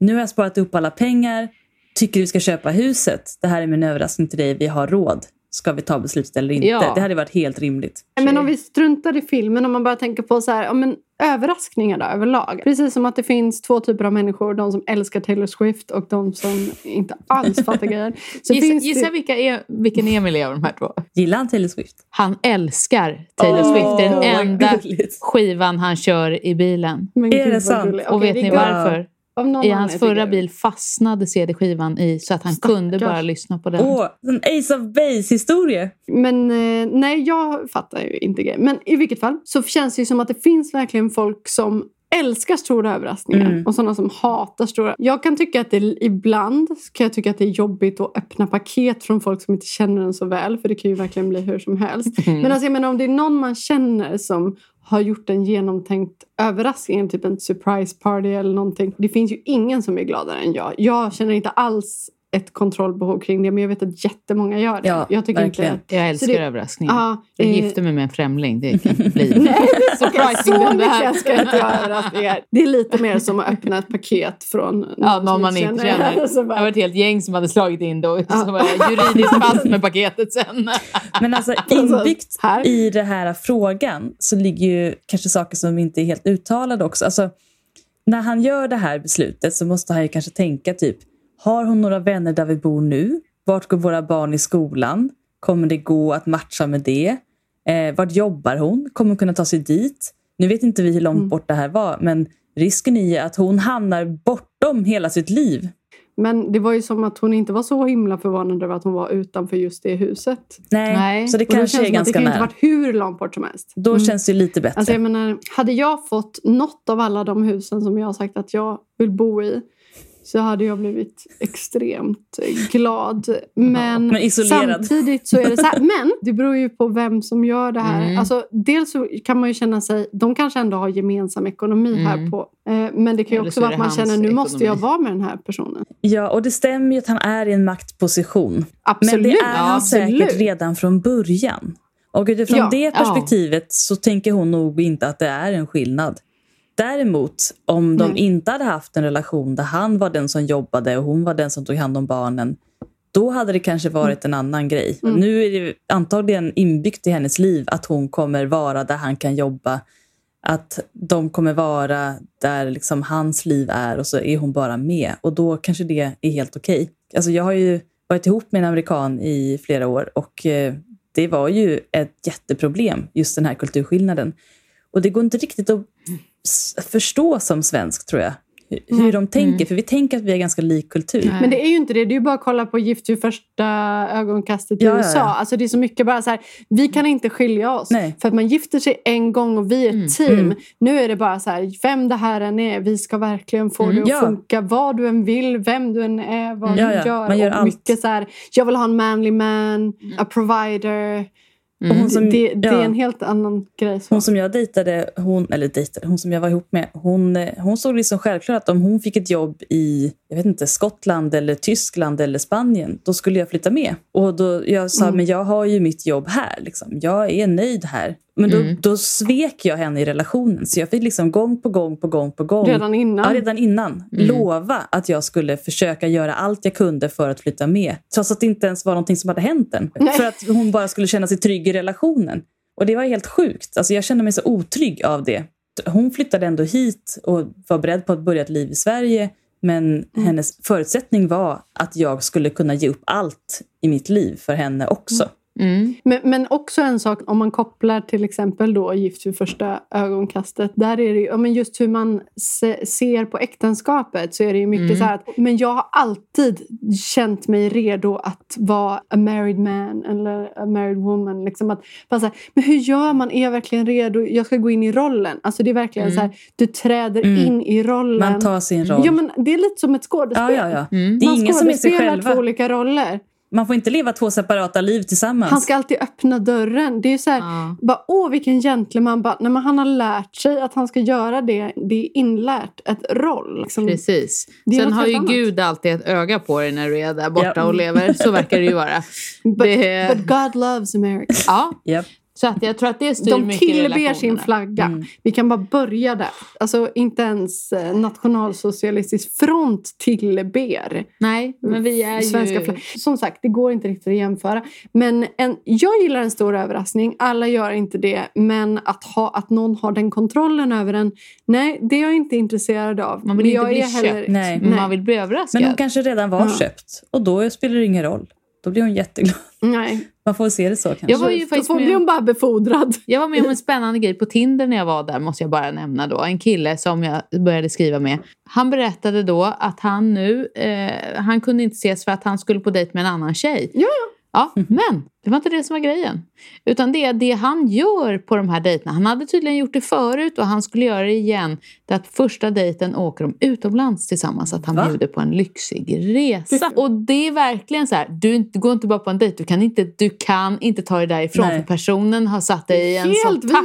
[SPEAKER 2] nu har jag sparat upp alla pengar, tycker du ska köpa huset. Det här är min överraskning till dig, vi har råd. Ska vi ta beslutet eller inte?
[SPEAKER 3] Ja.
[SPEAKER 2] Det hade varit helt rimligt.
[SPEAKER 4] Nej, Men om vi struntar i filmen, om man bara tänker på så här, ja, men överraskningar då, överlag. Precis som att det finns två typer av människor, de som älskar Taylor Swift och de som inte alls fattar grejer. Så
[SPEAKER 3] Gissa,
[SPEAKER 4] finns det-
[SPEAKER 3] gissa vilka är, vilken Emil är av de här två.
[SPEAKER 2] Gillar han Taylor Swift?
[SPEAKER 3] Han älskar Taylor
[SPEAKER 4] Oh
[SPEAKER 2] Åh,
[SPEAKER 3] Swift. Det är
[SPEAKER 2] vad
[SPEAKER 3] den enda
[SPEAKER 2] gulligt.
[SPEAKER 3] skivan han kör i bilen.
[SPEAKER 4] Men
[SPEAKER 2] Är
[SPEAKER 4] gud,
[SPEAKER 2] det
[SPEAKER 4] vad
[SPEAKER 2] sant?
[SPEAKER 4] gulligt.
[SPEAKER 3] och
[SPEAKER 4] Okej,
[SPEAKER 3] vet
[SPEAKER 4] det
[SPEAKER 3] ni
[SPEAKER 4] är
[SPEAKER 2] går-
[SPEAKER 3] varför?
[SPEAKER 4] Av någon
[SPEAKER 3] I hans
[SPEAKER 4] anledning tycker
[SPEAKER 3] förra
[SPEAKER 4] jag.
[SPEAKER 3] bil fastnade CD-skivan i så att han kunde bara lyssna på den.
[SPEAKER 2] Åh, en Ace of Base-historia.
[SPEAKER 4] Men eh, nej, jag fattar ju inte grejen. Men i vilket fall så känns det ju som att det finns verkligen folk som älskar stora överraskningar
[SPEAKER 2] Mm.
[SPEAKER 4] och sådana som hatar stora. Jag kan tycka att det ibland kan jag tycka att det är jobbigt att öppna paket från folk som inte känner en så väl för det kan ju verkligen bli hur som helst.
[SPEAKER 3] Mm.
[SPEAKER 4] Men alltså, jag menar, om det är någon man känner som har gjort en genomtänkt överraskning, typ en surprise party eller någonting. Det finns ju ingen som är gladare än jag. Jag känner inte alls ett kontrollbehov kring det, men jag vet att jättemånga gör det.
[SPEAKER 2] Ja,
[SPEAKER 4] jag tycker
[SPEAKER 2] verkligen.
[SPEAKER 4] inte
[SPEAKER 3] jag älskar
[SPEAKER 4] så det-
[SPEAKER 3] överraskningar.
[SPEAKER 4] Ja,
[SPEAKER 3] Mm. jag
[SPEAKER 4] eh,
[SPEAKER 3] gifte mig med en främling. Det kan inte bli.
[SPEAKER 4] Nej,
[SPEAKER 3] Surprising
[SPEAKER 4] så
[SPEAKER 3] den
[SPEAKER 4] mycket
[SPEAKER 3] där.
[SPEAKER 4] älskar jag inte jag överraskningar. Det är lite mer som att öppna ett paket från någon,
[SPEAKER 3] Ja,
[SPEAKER 4] som
[SPEAKER 3] någon man inte
[SPEAKER 4] känner.
[SPEAKER 3] känner.
[SPEAKER 4] Så
[SPEAKER 3] Det
[SPEAKER 4] bara,
[SPEAKER 3] var ett helt gäng som hade slagit in då. Så var jag juridiskt fast med paketet sen.
[SPEAKER 2] Men alltså inbyggt
[SPEAKER 4] här.
[SPEAKER 2] i den här frågan så ligger ju kanske saker som inte är helt uttalade också. Alltså, när han gör det här beslutet så måste han ju kanske tänka typ, har hon några vänner där vi bor nu? Vart går våra barn i skolan? Kommer det gå att matcha med det? Eh, vart jobbar hon? Kommer hon kunna ta sig dit? Nu vet inte vi
[SPEAKER 4] Mm.
[SPEAKER 2] hur långt bort det här var, men risken är ju att hon hamnar bortom hela sitt liv.
[SPEAKER 4] Men det var ju som att hon inte var så himla förvånad över att hon var utanför just det huset.
[SPEAKER 2] Nej,
[SPEAKER 3] Nej.
[SPEAKER 2] så det
[SPEAKER 4] Och då
[SPEAKER 2] kanske
[SPEAKER 4] känns
[SPEAKER 2] är
[SPEAKER 4] som att
[SPEAKER 2] ganska
[SPEAKER 4] det kan ju inte
[SPEAKER 2] nära.
[SPEAKER 4] varit hur långt bort som helst.
[SPEAKER 2] Då känns det ju lite bättre.
[SPEAKER 4] Alltså jag menar, hade jag fått något av alla de husen som jag har sagt att jag vill bo i så hade jag blivit extremt glad. Men,
[SPEAKER 2] Men isolerad.
[SPEAKER 4] samtidigt så är det så här. Men det beror ju på vem som gör det här.
[SPEAKER 3] Mm.
[SPEAKER 4] Alltså, dels så kan man ju känna sig... De kanske ändå har gemensam ekonomi här
[SPEAKER 3] Mm.
[SPEAKER 4] på. Eh, men det kan ju
[SPEAKER 3] Eller så
[SPEAKER 4] också
[SPEAKER 3] är
[SPEAKER 4] vara att
[SPEAKER 3] det
[SPEAKER 4] man känner
[SPEAKER 3] hans
[SPEAKER 4] nu måste jag
[SPEAKER 3] ekonomi.
[SPEAKER 4] vara med den här personen.
[SPEAKER 2] Ja, och det stämmer ju att han är i en maktposition.
[SPEAKER 4] Absolut.
[SPEAKER 2] Men det är han
[SPEAKER 4] absolut.
[SPEAKER 2] säkert redan från början. Och utifrån
[SPEAKER 4] Ja,
[SPEAKER 2] det perspektivet så tänker hon nog inte att det är en skillnad. Däremot, om de
[SPEAKER 4] Nej.
[SPEAKER 2] inte hade haft en relation där han var den som jobbade och hon var den som tog hand om barnen, då hade det kanske varit en annan grej.
[SPEAKER 4] Mm.
[SPEAKER 2] Nu är det antagligen inbyggt i hennes liv att hon kommer vara där han kan jobba. Att de kommer vara där liksom hans liv är och så är hon bara med. Och då kanske det är helt okej. Alltså jag har ju varit ihop med en amerikan i flera år och eh, det var ju ett jätteproblem, just den här kulturskillnaden. Och det går inte riktigt att s- förstå som svensk, tror jag, hur, hur de tänker. För vi tänker att vi är ganska lik kultur.
[SPEAKER 4] Men det är ju inte det. Det är ju bara att kolla på Gift vid första ögonkastet i
[SPEAKER 2] Ja, ja,
[SPEAKER 4] USA.
[SPEAKER 2] ja.
[SPEAKER 4] Alltså det är så mycket bara så här, vi kan inte skilja oss.
[SPEAKER 2] Nej. Mm.
[SPEAKER 4] För att man gifter sig en gång och vi är ett team. Nu är det bara så här, vem det här än är, vi ska verkligen få det att
[SPEAKER 2] Mm. Ja. Mm.
[SPEAKER 4] funka. Vad du än vill, vem du än är, vad
[SPEAKER 2] Ja,
[SPEAKER 4] du
[SPEAKER 2] ja.
[SPEAKER 4] gör.
[SPEAKER 2] Man gör
[SPEAKER 4] och
[SPEAKER 2] allt. Mm.
[SPEAKER 4] mycket så här, jag vill ha en manly man, a provider.
[SPEAKER 2] Och hon som,
[SPEAKER 4] det, det
[SPEAKER 2] ja.
[SPEAKER 4] är en helt annan grej. Så.
[SPEAKER 2] Hon som jag dejtade, hon, eller dejtade, hon som jag var ihop med, hon, eh, hon såg det som självklart att om hon fick ett jobb i jag vet inte, Skottland, eller Tyskland eller Spanien, då skulle jag flytta med. Och då, Jag sa men jag har ju mitt jobb här. Liksom. Jag är nöjd här. Men då, då svek jag henne i relationen. Så jag fick liksom gång på gång på gång på gång
[SPEAKER 4] Redan innan.
[SPEAKER 2] Ja, redan innan.
[SPEAKER 4] Mm.
[SPEAKER 2] Lova att jag skulle försöka göra allt jag kunde för att flytta med. Trots att det inte ens var någonting som hade hänt än. För att hon bara skulle känna sig trygg i relationen. Och det var helt sjukt. Alltså, jag kände mig så otrygg av det. Hon flyttade ändå hit och var beredd på att börja ett liv i Sverige. Men
[SPEAKER 4] Mm.
[SPEAKER 2] hennes förutsättning var att jag skulle kunna ge upp allt i mitt liv för henne också.
[SPEAKER 3] Mm.
[SPEAKER 4] Men, men också en sak om man kopplar till exempel då Gift vid första ögonkastet. Där är det ju, ja, men just hur man se, ser på äktenskapet så är det ju mycket
[SPEAKER 3] Mm.
[SPEAKER 4] så här att men jag har alltid känt mig redo att vara a married man eller a married woman. Liksom att, bara så här, men hur gör man? Är jag verkligen redo? Jag ska gå in i rollen. Alltså det är verkligen
[SPEAKER 3] Mm.
[SPEAKER 4] så här, du träder
[SPEAKER 2] Mm.
[SPEAKER 4] in i rollen.
[SPEAKER 2] Man tar sin roll.
[SPEAKER 4] Ja, men det är lite som ett skådespel.
[SPEAKER 2] ja, ja, ja.
[SPEAKER 3] Mm.
[SPEAKER 2] Det är ingen som är sig
[SPEAKER 4] skådespelar
[SPEAKER 2] själva.
[SPEAKER 4] två olika roller.
[SPEAKER 2] Man får inte leva två separata liv tillsammans.
[SPEAKER 4] Han ska alltid öppna dörren. Det är ju så här,
[SPEAKER 3] Ja.
[SPEAKER 4] Bara, Åh, vilken gentleman. Bara, nej, men han har lärt sig att han ska göra det. Det är inlärt. Ett roll. Liksom.
[SPEAKER 3] Precis.
[SPEAKER 4] Det är
[SPEAKER 3] Sen
[SPEAKER 4] något
[SPEAKER 3] har
[SPEAKER 4] helt
[SPEAKER 3] ju
[SPEAKER 4] annat.
[SPEAKER 3] Gud alltid ett öga på dig när du är där borta
[SPEAKER 2] Ja.
[SPEAKER 3] och lever. Så verkar det ju vara.
[SPEAKER 4] But,
[SPEAKER 3] Det-
[SPEAKER 4] but God loves America.
[SPEAKER 3] Ja,
[SPEAKER 2] Japp.
[SPEAKER 3] så att jag tror att det styr
[SPEAKER 4] De
[SPEAKER 3] mycket i
[SPEAKER 4] tillber sin
[SPEAKER 3] relationerna. Mm.
[SPEAKER 4] flagga. Vi kan bara börja där. Alltså, inte ens eh, nationalsocialistisk front tillber
[SPEAKER 3] Nej, men vi är ju...
[SPEAKER 4] svenska flaggan. Som sagt, det går inte riktigt att jämföra. Men en, jag gillar en stor överraskning. Alla gör inte det. Men att, ha, att någon har den kontrollen över en, nej, det är jag inte intresserad av.
[SPEAKER 3] Man vill
[SPEAKER 4] Men
[SPEAKER 3] inte
[SPEAKER 4] jag
[SPEAKER 3] bli
[SPEAKER 4] är heller-
[SPEAKER 3] köpt.
[SPEAKER 2] Nej.
[SPEAKER 3] Men man vill bli överraskad.
[SPEAKER 2] Men hon kanske redan var
[SPEAKER 4] Ja.
[SPEAKER 2] köpt och då spelar det ingen roll. Då blir hon jätteglad.
[SPEAKER 4] Nej,
[SPEAKER 2] Man får se det så kanske.
[SPEAKER 3] Jag var ju
[SPEAKER 4] Då
[SPEAKER 3] faktiskt
[SPEAKER 4] får-
[SPEAKER 3] med-
[SPEAKER 4] blir hon bara befordrad.
[SPEAKER 3] Jag var med om en spännande grej på Tinder när jag var där, måste jag bara nämna då. En kille som jag började skriva med. Han berättade då att han nu, eh, han kunde inte ses för att han skulle på dejt med en annan tjej.
[SPEAKER 4] Ja,
[SPEAKER 3] ja. men det var inte det som var grejen. Utan det är det han gör på de här dejterna. Han hade tydligen gjort det förut och han skulle göra det igen. Det är att första dejten åker de utomlands tillsammans. Att han
[SPEAKER 2] Va?
[SPEAKER 3] bjuder på en lyxig resa. Och det är verkligen så här, du, inte- går inte bara på en dejt. Du kan inte, du kan inte ta dig därifrån
[SPEAKER 2] Nej.
[SPEAKER 3] för personen har satt dig i en
[SPEAKER 4] Helt
[SPEAKER 3] sån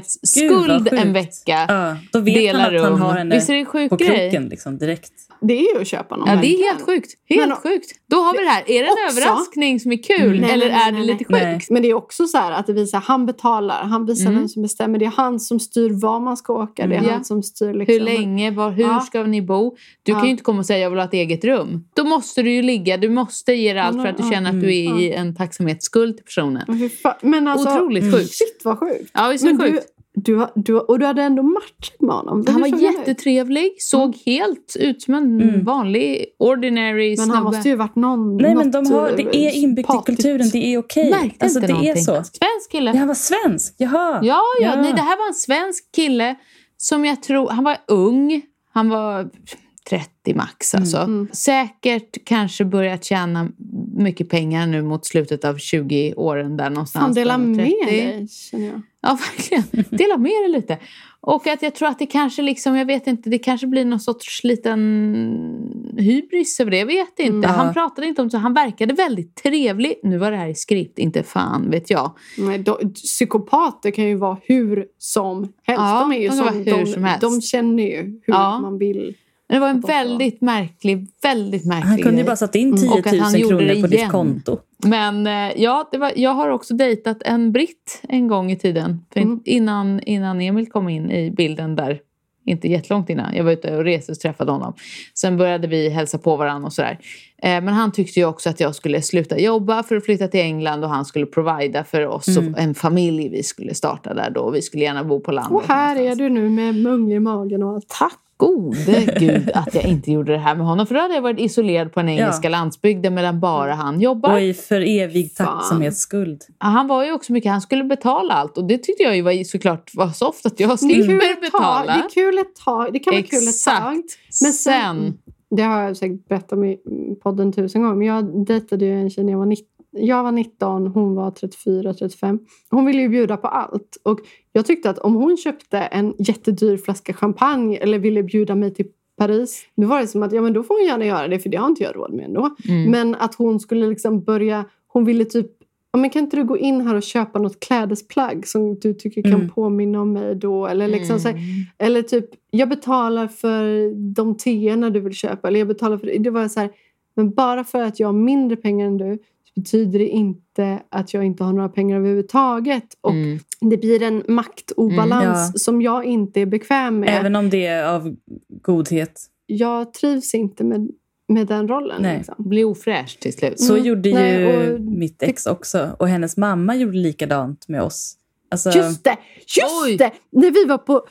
[SPEAKER 2] Gud, vad
[SPEAKER 3] tacksamhetsskuld
[SPEAKER 2] sjukt.
[SPEAKER 3] en vecka.
[SPEAKER 2] ja, då vet
[SPEAKER 3] delar
[SPEAKER 2] han att han
[SPEAKER 3] rum.
[SPEAKER 2] har henne
[SPEAKER 3] Visst är det en sjuk
[SPEAKER 2] på
[SPEAKER 3] grej?
[SPEAKER 2] kroken Oh liksom, direkt.
[SPEAKER 4] Det är ju att köpa någon.
[SPEAKER 3] Ja, det är
[SPEAKER 4] verkligen.
[SPEAKER 3] helt sjukt. Helt
[SPEAKER 4] Men-
[SPEAKER 3] sjukt. Då har vi det här. Är det en
[SPEAKER 4] Också-
[SPEAKER 3] överraskning som är kul
[SPEAKER 4] Nej,
[SPEAKER 3] eller
[SPEAKER 4] nej, nej,
[SPEAKER 3] är det
[SPEAKER 4] nej,
[SPEAKER 3] lite sjukt?
[SPEAKER 2] nej.
[SPEAKER 4] Men det är också så här att det visar han betalar, han visar
[SPEAKER 3] Mm.
[SPEAKER 4] vem som bestämmer. Det är han som styr var man ska åka. Det är
[SPEAKER 3] Mm. Ja.
[SPEAKER 4] han som styr liksom.
[SPEAKER 3] Hur länge? Var, hur
[SPEAKER 4] Ja.
[SPEAKER 3] ska ni bo? Du
[SPEAKER 4] Ja.
[SPEAKER 3] kan ju inte komma och säga jag vill ha ett eget rum. Då måste du ju ligga. Du måste ge det allt
[SPEAKER 4] Ja,
[SPEAKER 3] för att du
[SPEAKER 4] ja,
[SPEAKER 3] känner att
[SPEAKER 2] mm,
[SPEAKER 3] du är
[SPEAKER 4] ja.
[SPEAKER 3] i en tacksamhetsskuld till personen.
[SPEAKER 4] Men, hur fa- men alltså,
[SPEAKER 3] Otroligt sjukt.
[SPEAKER 4] Shit vad sjukt.
[SPEAKER 3] Ja, visst är
[SPEAKER 4] Men
[SPEAKER 3] det
[SPEAKER 4] du,
[SPEAKER 3] sjukt?
[SPEAKER 4] du, har- du, har- och du hade ändå matchat med honom.
[SPEAKER 3] Han var
[SPEAKER 4] Hur såg ut?
[SPEAKER 3] jättetrevlig,
[SPEAKER 4] Mm.
[SPEAKER 3] såg helt ut som en
[SPEAKER 2] Mm.
[SPEAKER 3] vanlig ordinary
[SPEAKER 4] Men han måste ju varit någon...
[SPEAKER 2] Nej, men
[SPEAKER 4] något,
[SPEAKER 2] de har, det är
[SPEAKER 4] eh,
[SPEAKER 2] inbyggt i
[SPEAKER 4] sympatiskt.
[SPEAKER 2] kulturen. Det är okej.
[SPEAKER 3] Märkte
[SPEAKER 2] Alltså,
[SPEAKER 3] inte
[SPEAKER 2] det
[SPEAKER 3] någonting.
[SPEAKER 2] är så.
[SPEAKER 3] Svensk kille.
[SPEAKER 2] Ja, han var svensk. Jaha.
[SPEAKER 3] Ja, ja.
[SPEAKER 2] Ja.
[SPEAKER 3] Nej, det här var en svensk kille som jag tror... Han var ung. Han var 30 max.
[SPEAKER 4] Mm,
[SPEAKER 3] Alltså. Säkert kanske börjat tjäna mycket pengar nu mot slutet av 20-åren där någonstans.
[SPEAKER 4] Fan, dela
[SPEAKER 3] framåt
[SPEAKER 4] med
[SPEAKER 3] 30.
[SPEAKER 4] dig, känner jag.
[SPEAKER 3] Ja, verkligen. Dela med dig lite. Och att jag tror att det kanske liksom, jag vet inte, det kanske blir någon sorts liten hybris över det. Jag vet inte.
[SPEAKER 2] Mm.
[SPEAKER 3] Han
[SPEAKER 2] Ja.
[SPEAKER 3] pratade inte om så. Han verkade väldigt trevlig. Nu var det här i skript, inte fan vet jag.
[SPEAKER 4] Nej, de, psykopater kan ju vara hur som helst.
[SPEAKER 3] Ja,
[SPEAKER 4] de, är
[SPEAKER 3] de
[SPEAKER 4] ju
[SPEAKER 3] kan
[SPEAKER 4] som,
[SPEAKER 3] vara hur
[SPEAKER 4] de,
[SPEAKER 3] som helst.
[SPEAKER 4] de känner ju hur
[SPEAKER 3] Ja.
[SPEAKER 4] man vill.
[SPEAKER 3] Men Det var en
[SPEAKER 4] Att de får-
[SPEAKER 3] väldigt märklig, väldigt märklig
[SPEAKER 2] Han kunde ju
[SPEAKER 3] grej.
[SPEAKER 2] bara satt in 10
[SPEAKER 3] Mm,
[SPEAKER 2] 000
[SPEAKER 3] och att han gjorde det
[SPEAKER 2] kronor på
[SPEAKER 3] igen.
[SPEAKER 2] ditt konto.
[SPEAKER 3] Men eh, ja, det var, jag har också dejtat en britt en gång i tiden. För in-
[SPEAKER 4] Mm.
[SPEAKER 3] innan, innan Emil kom in i bilden där, inte jättelångt innan, jag var ute och reste och träffade honom. Sen började vi hälsa på varandra och sådär. Eh, men han tyckte ju också att jag skulle sluta jobba för att flytta till England och han skulle provida för oss
[SPEAKER 2] Mm.
[SPEAKER 3] och en familj vi skulle starta där då. Vi skulle gärna bo på landet.
[SPEAKER 4] Och här är
[SPEAKER 3] någonstans.
[SPEAKER 4] du nu med mungel i magen och allt.
[SPEAKER 3] Tack gode gud att jag inte gjorde det här med honom. För då hade jag varit isolerad på den engelska landsbygden medan bara han jobbar.
[SPEAKER 2] Och i för evig
[SPEAKER 4] Fan.
[SPEAKER 2] tacksamhetsskuld.
[SPEAKER 3] Ja, Han var ju också mycket, han skulle betala allt och det tyckte jag ju var såklart var soft att jag
[SPEAKER 4] Mm. Det är kul
[SPEAKER 3] slipper
[SPEAKER 4] ett tag. Det
[SPEAKER 3] betala.
[SPEAKER 4] är kul ett tag. Det kan vara kul ett
[SPEAKER 3] Exakt.
[SPEAKER 4] tag.
[SPEAKER 3] Men sen,
[SPEAKER 4] Men sen- Det har jag säkert berättat om i podden tusen gånger. Men jag dejtade ju en tjej när jag var 19. Jag var 19, hon var 34, 35. Hon ville ju bjuda på allt. Och jag tyckte att om hon köpte en jättedyr flaska champagne eller ville bjuda mig till Paris. Då var det som att ja, men då får hon gärna göra det för det har inte jag råd med ändå.
[SPEAKER 3] mm,
[SPEAKER 4] Men att hon skulle liksom börja... Hon ville typ... "Ja, Men kan inte du gå in här och köpa något klädesplagg som du tycker kan
[SPEAKER 2] Mm.
[SPEAKER 4] påminna om mig då? Eller, liksom så här,
[SPEAKER 3] mm.
[SPEAKER 4] eller typ, jag betalar för de teerna du vill köpa. Eller jag betalar för... Det var så här, men bara för att jag har mindre pengar än du så betyder det inte att jag inte har några pengar överhuvudtaget. Och
[SPEAKER 3] Mm.
[SPEAKER 4] det blir en maktobalans
[SPEAKER 2] Mm, ja.
[SPEAKER 4] som jag inte är bekväm med.
[SPEAKER 2] Även om det är av godhet.
[SPEAKER 4] Jag trivs inte med, med den rollen.
[SPEAKER 2] Nej.
[SPEAKER 4] Liksom.
[SPEAKER 3] bli ofräsch till slut.
[SPEAKER 2] Så
[SPEAKER 4] Mm,
[SPEAKER 2] gjorde ju
[SPEAKER 4] nej, och-
[SPEAKER 2] mitt ex också. Och hennes mamma gjorde likadant med oss. Alltså,
[SPEAKER 4] Just det! Just
[SPEAKER 3] Oj.
[SPEAKER 4] det! När vi var på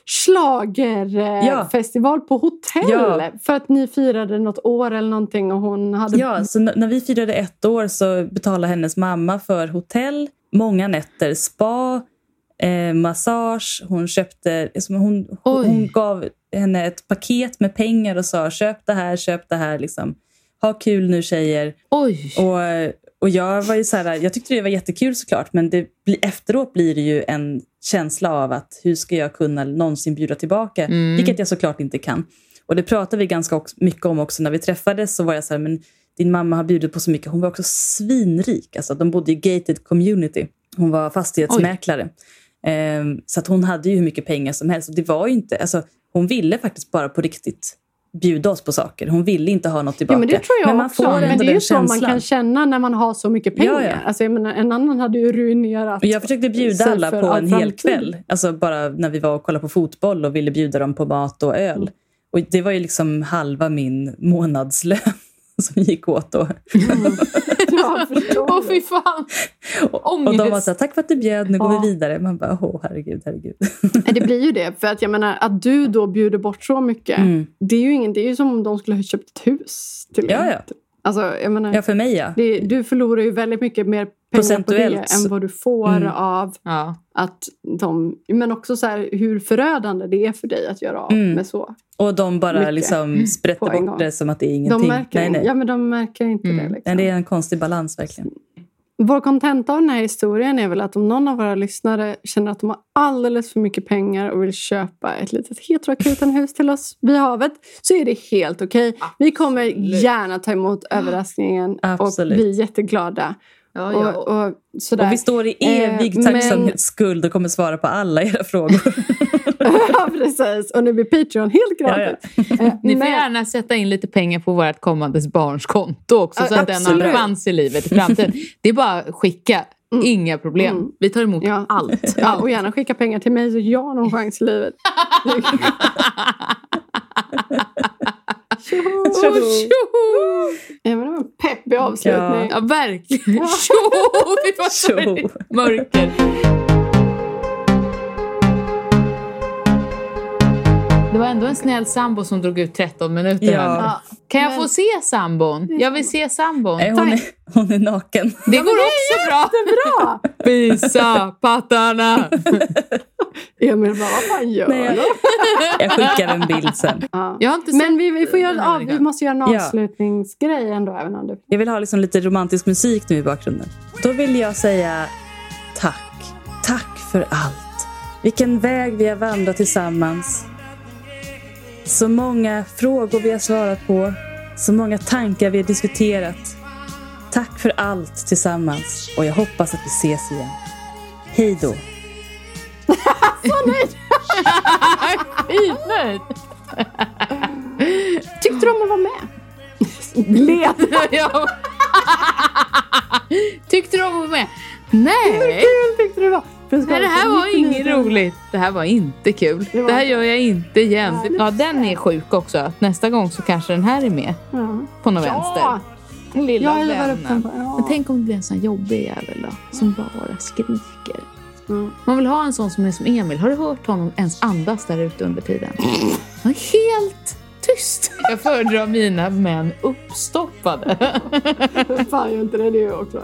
[SPEAKER 4] schlagerfestival
[SPEAKER 2] Ja.
[SPEAKER 4] festival på hotell.
[SPEAKER 2] Ja.
[SPEAKER 4] För att ni firade något år eller någonting och hon hade...
[SPEAKER 2] Ja, så n- när vi firade ett år så betalade hennes mamma för hotell, många nätter, spa, eh, massage. Hon köpte... liksom, Hon,
[SPEAKER 3] Oj.
[SPEAKER 2] hon gav henne ett paket med pengar och sa köp det här, köp det här. Liksom. Ha kul nu tjejer.
[SPEAKER 3] Oj!
[SPEAKER 2] Och, och jag var ju så här, jag tyckte det var jättekul såklart men det, bli- efteråt blir det ju en känsla av att hur ska jag kunna någonsin bjuda tillbaka?
[SPEAKER 3] Mm.
[SPEAKER 2] Vilket jag såklart inte kan. Och det pratade vi ganska ox- mycket om också när vi träffades. Så var jag så här, men din mamma har bjudit på så mycket. Hon var också svinrik. Alltså, de bodde i gated community. Hon var fastighetsmäklare. Ehm, så att hon hade ju hur mycket pengar som helst. Och det var ju inte, alltså, hon ville faktiskt bara på riktigt bjuda oss på saker. Hon ville inte ha något tillbaka.
[SPEAKER 4] Ja, men det tror jag
[SPEAKER 2] man
[SPEAKER 4] också.
[SPEAKER 2] får ändå
[SPEAKER 4] men det är ju
[SPEAKER 2] den
[SPEAKER 4] så man
[SPEAKER 2] känslan.
[SPEAKER 4] kan känna när man har så mycket pengar.
[SPEAKER 2] Ja, ja.
[SPEAKER 4] Alltså, jag menar, en annan hade ju ruinerat
[SPEAKER 2] Och jag försökte bjuda
[SPEAKER 4] sig
[SPEAKER 2] alla
[SPEAKER 4] för
[SPEAKER 2] på
[SPEAKER 4] all
[SPEAKER 2] en hel
[SPEAKER 4] framtid.
[SPEAKER 2] kväll. Alltså bara när vi var och kollade på fotboll och ville bjuda dem på mat och
[SPEAKER 4] Mm.
[SPEAKER 2] öl. Och det var ju liksom halva min månadslön som gick åt då.
[SPEAKER 4] Ja, jag förstår.
[SPEAKER 3] Åh fy fan!
[SPEAKER 2] Och, och de var
[SPEAKER 3] Ångest.
[SPEAKER 2] så här, tack för att du bjöd, nu går
[SPEAKER 4] Ja.
[SPEAKER 2] vi vidare. Man bara, åh herregud, herregud.
[SPEAKER 4] Nej, det blir ju det. För att jag menar, att du då bjuder bort så mycket.
[SPEAKER 2] Mm.
[SPEAKER 4] Det är ju ingen, det är ju som om de skulle ha köpt ett hus till
[SPEAKER 2] Ja,
[SPEAKER 4] dig.
[SPEAKER 2] ja.
[SPEAKER 4] Alltså, jag menar,
[SPEAKER 2] Ja, för mig ja.
[SPEAKER 4] det, du förlorar ju väldigt mycket mer pengar på det
[SPEAKER 2] Procentuellt så-
[SPEAKER 4] än vad du får
[SPEAKER 2] Mm.
[SPEAKER 4] av
[SPEAKER 3] Ja.
[SPEAKER 4] att de, men också så här, hur förödande det är för dig att göra av
[SPEAKER 2] Mm.
[SPEAKER 4] med så.
[SPEAKER 2] Och de bara
[SPEAKER 4] Mycket. Mm.
[SPEAKER 2] liksom
[SPEAKER 4] På
[SPEAKER 2] sprättar
[SPEAKER 4] en
[SPEAKER 2] bort
[SPEAKER 4] gång.
[SPEAKER 2] det som att det är ingenting.
[SPEAKER 4] De märker,
[SPEAKER 2] nej, nej.
[SPEAKER 4] Ja, men de märker inte
[SPEAKER 3] Mm.
[SPEAKER 4] det. Liksom.
[SPEAKER 2] Men det är en konstig balans verkligen.
[SPEAKER 4] Vår kontenta av den här historien är väl att om någon av våra lyssnare känner att de har alldeles för mycket pengar och vill köpa ett litet heteroakutenhus till oss vid havet så är det helt okej. Vi kommer gärna ta emot överraskningen
[SPEAKER 2] Absolut.
[SPEAKER 4] och vi är jätteglada.
[SPEAKER 3] Ja, ja.
[SPEAKER 4] Och, och, sådär.
[SPEAKER 2] Och vi står i
[SPEAKER 4] Eh,
[SPEAKER 2] evig
[SPEAKER 4] men-
[SPEAKER 2] tacksamhetsskuld och kommer svara på alla era frågor.
[SPEAKER 4] ja, precis. Och nu blir Patreon helt
[SPEAKER 2] Ja,
[SPEAKER 4] gratis.
[SPEAKER 2] ja.
[SPEAKER 4] Eh,
[SPEAKER 3] Ni får
[SPEAKER 4] men-
[SPEAKER 3] gärna sätta in lite pengar på vårt kommande barnskonto också
[SPEAKER 4] Ja,
[SPEAKER 3] så att den har en
[SPEAKER 4] absolut.
[SPEAKER 3] chans i livet i framtiden. Det är bara att skicka,
[SPEAKER 4] Mm.
[SPEAKER 3] inga problem.
[SPEAKER 4] Mm.
[SPEAKER 3] Vi tar emot
[SPEAKER 4] Ja.
[SPEAKER 3] allt.
[SPEAKER 4] Ja, och gärna skicka pengar till mig så jag har någon chans i livet.
[SPEAKER 3] Tjoho! Tjoho!
[SPEAKER 4] Ja, men det var en peppig avslutning.
[SPEAKER 3] Ja, verkligen. Tjoho! Vi var så
[SPEAKER 2] Tjoho.
[SPEAKER 3] i mörker. Det var ändå en snäll sambo som drog ut 13 minuter.
[SPEAKER 2] Ja.
[SPEAKER 3] här nu.
[SPEAKER 4] Ja.
[SPEAKER 3] Kan jag få
[SPEAKER 4] Men-
[SPEAKER 3] se sambon? Jag vill se sambon.
[SPEAKER 2] Nej, hon, är, hon är naken.
[SPEAKER 3] Det går också bra.
[SPEAKER 4] Bra!
[SPEAKER 3] Visa pattarna!
[SPEAKER 4] Emil bara, vad fan gör
[SPEAKER 2] Nej, jag-
[SPEAKER 4] du?
[SPEAKER 2] Jag skickar en bild sen.
[SPEAKER 4] Ja.
[SPEAKER 3] Jag har inte
[SPEAKER 4] Men
[SPEAKER 3] sett
[SPEAKER 4] vi, vi, får göra,
[SPEAKER 3] den
[SPEAKER 4] en
[SPEAKER 3] här
[SPEAKER 4] av, vi
[SPEAKER 3] Erika.
[SPEAKER 4] måste göra en
[SPEAKER 2] Ja.
[SPEAKER 4] avslutningsgrej ändå. Även om det...
[SPEAKER 2] Jag vill ha liksom lite romantisk musik nu i bakgrunden. Då vill jag säga tack. Tack för allt. Vilken väg vi har vandrat tillsammans. Så många frågor vi har svarat på. Så många tankar vi har diskuterat. Tack för allt tillsammans och jag hoppas att vi ses igen. Hej då!
[SPEAKER 3] Skitnöjd!
[SPEAKER 4] Tyckte du om att vara med? Let.
[SPEAKER 3] Ja. Tyckte du om att vara med? Nej!
[SPEAKER 4] Hur kul tyckte du det var? För att
[SPEAKER 3] Nej, det här
[SPEAKER 4] skapa
[SPEAKER 3] var
[SPEAKER 4] lite
[SPEAKER 3] inget
[SPEAKER 4] lite-
[SPEAKER 3] roligt. Det här var inte kul.
[SPEAKER 4] Det var-
[SPEAKER 3] Det här gör jag inte igen.
[SPEAKER 4] Ja, det-
[SPEAKER 3] Ja, den är sjuk också. Nästa gång så kanske den här är med
[SPEAKER 4] Ja.
[SPEAKER 3] på någon
[SPEAKER 4] Ja,
[SPEAKER 3] vänster. Den Lilla
[SPEAKER 4] jag hivar upp den.
[SPEAKER 3] vännen.
[SPEAKER 4] på- Ja.
[SPEAKER 3] Men tänk om det blir en sån här jobbig jävel då, som bara skriker.
[SPEAKER 4] Mm.
[SPEAKER 3] Man vill ha en sån som är som Emil. Har du hört honom ens andas där ute under tiden? Han är helt tyst. Jag föredrar mina män uppstoppade.
[SPEAKER 4] Vem fan gör inte det? Det gör jag också.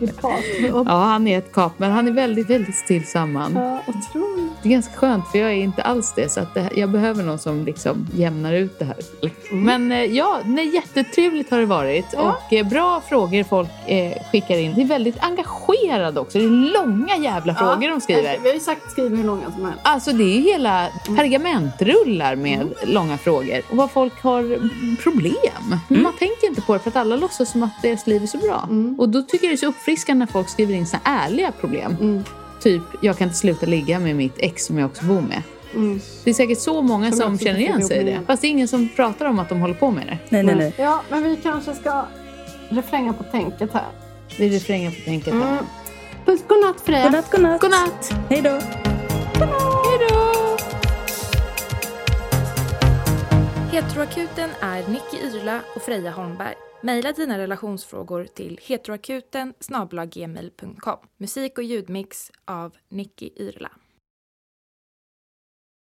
[SPEAKER 4] Ett kap. Och-
[SPEAKER 3] Ja, han är ett kap, men han är väldigt, väldigt stillsamman.
[SPEAKER 4] Ja, otroligt.
[SPEAKER 3] Det är ganska skönt för jag är inte alls det. Så att det här, jag behöver någon som liksom jämnar ut det här.
[SPEAKER 4] Mm.
[SPEAKER 3] Men eh, ja, nej, jättetrevligt har det varit. Och eh, bra frågor folk eh, skickar in. Det är väldigt engagerade också. Det är långa jävla frågor de skriver.
[SPEAKER 4] Vi har ju sagt skriv hur långa som helst.
[SPEAKER 3] Alltså det är hela
[SPEAKER 4] Mm.
[SPEAKER 3] pergamentrullar med långa frågor. Och vad folk har problem. Men man tänker inte på det för att alla låtsas som att deras liv är så bra.
[SPEAKER 4] Mm.
[SPEAKER 3] Och då tycker jag det är så uppfriskande när folk skriver in sina ärliga problem.
[SPEAKER 4] Mm.
[SPEAKER 3] Typ, jag kan inte sluta ligga med mitt ex som jag också bor med.
[SPEAKER 4] Mm.
[SPEAKER 3] Det är säkert så många
[SPEAKER 4] Som
[SPEAKER 3] som,
[SPEAKER 4] också
[SPEAKER 3] känner igen
[SPEAKER 4] tycker
[SPEAKER 3] sig i
[SPEAKER 4] det.
[SPEAKER 3] det. Fast det är ingen som pratar om att de håller på med det.
[SPEAKER 2] Nej, nej, nej.
[SPEAKER 4] Ja, men vi kanske ska refränga på tänket här.
[SPEAKER 3] Det är refrängen på tänket. här.
[SPEAKER 4] Mm. Puss, godnatt Freja.
[SPEAKER 2] Godnatt, godnatt.
[SPEAKER 3] Godnatt!
[SPEAKER 2] Hej då!
[SPEAKER 5] Heteroakuten är Nicky Irla och Freja Holmberg. Maila dina relationsfrågor till heteroakuten snabla-gmail.com. Musik och ljudmix av Nicky Irla.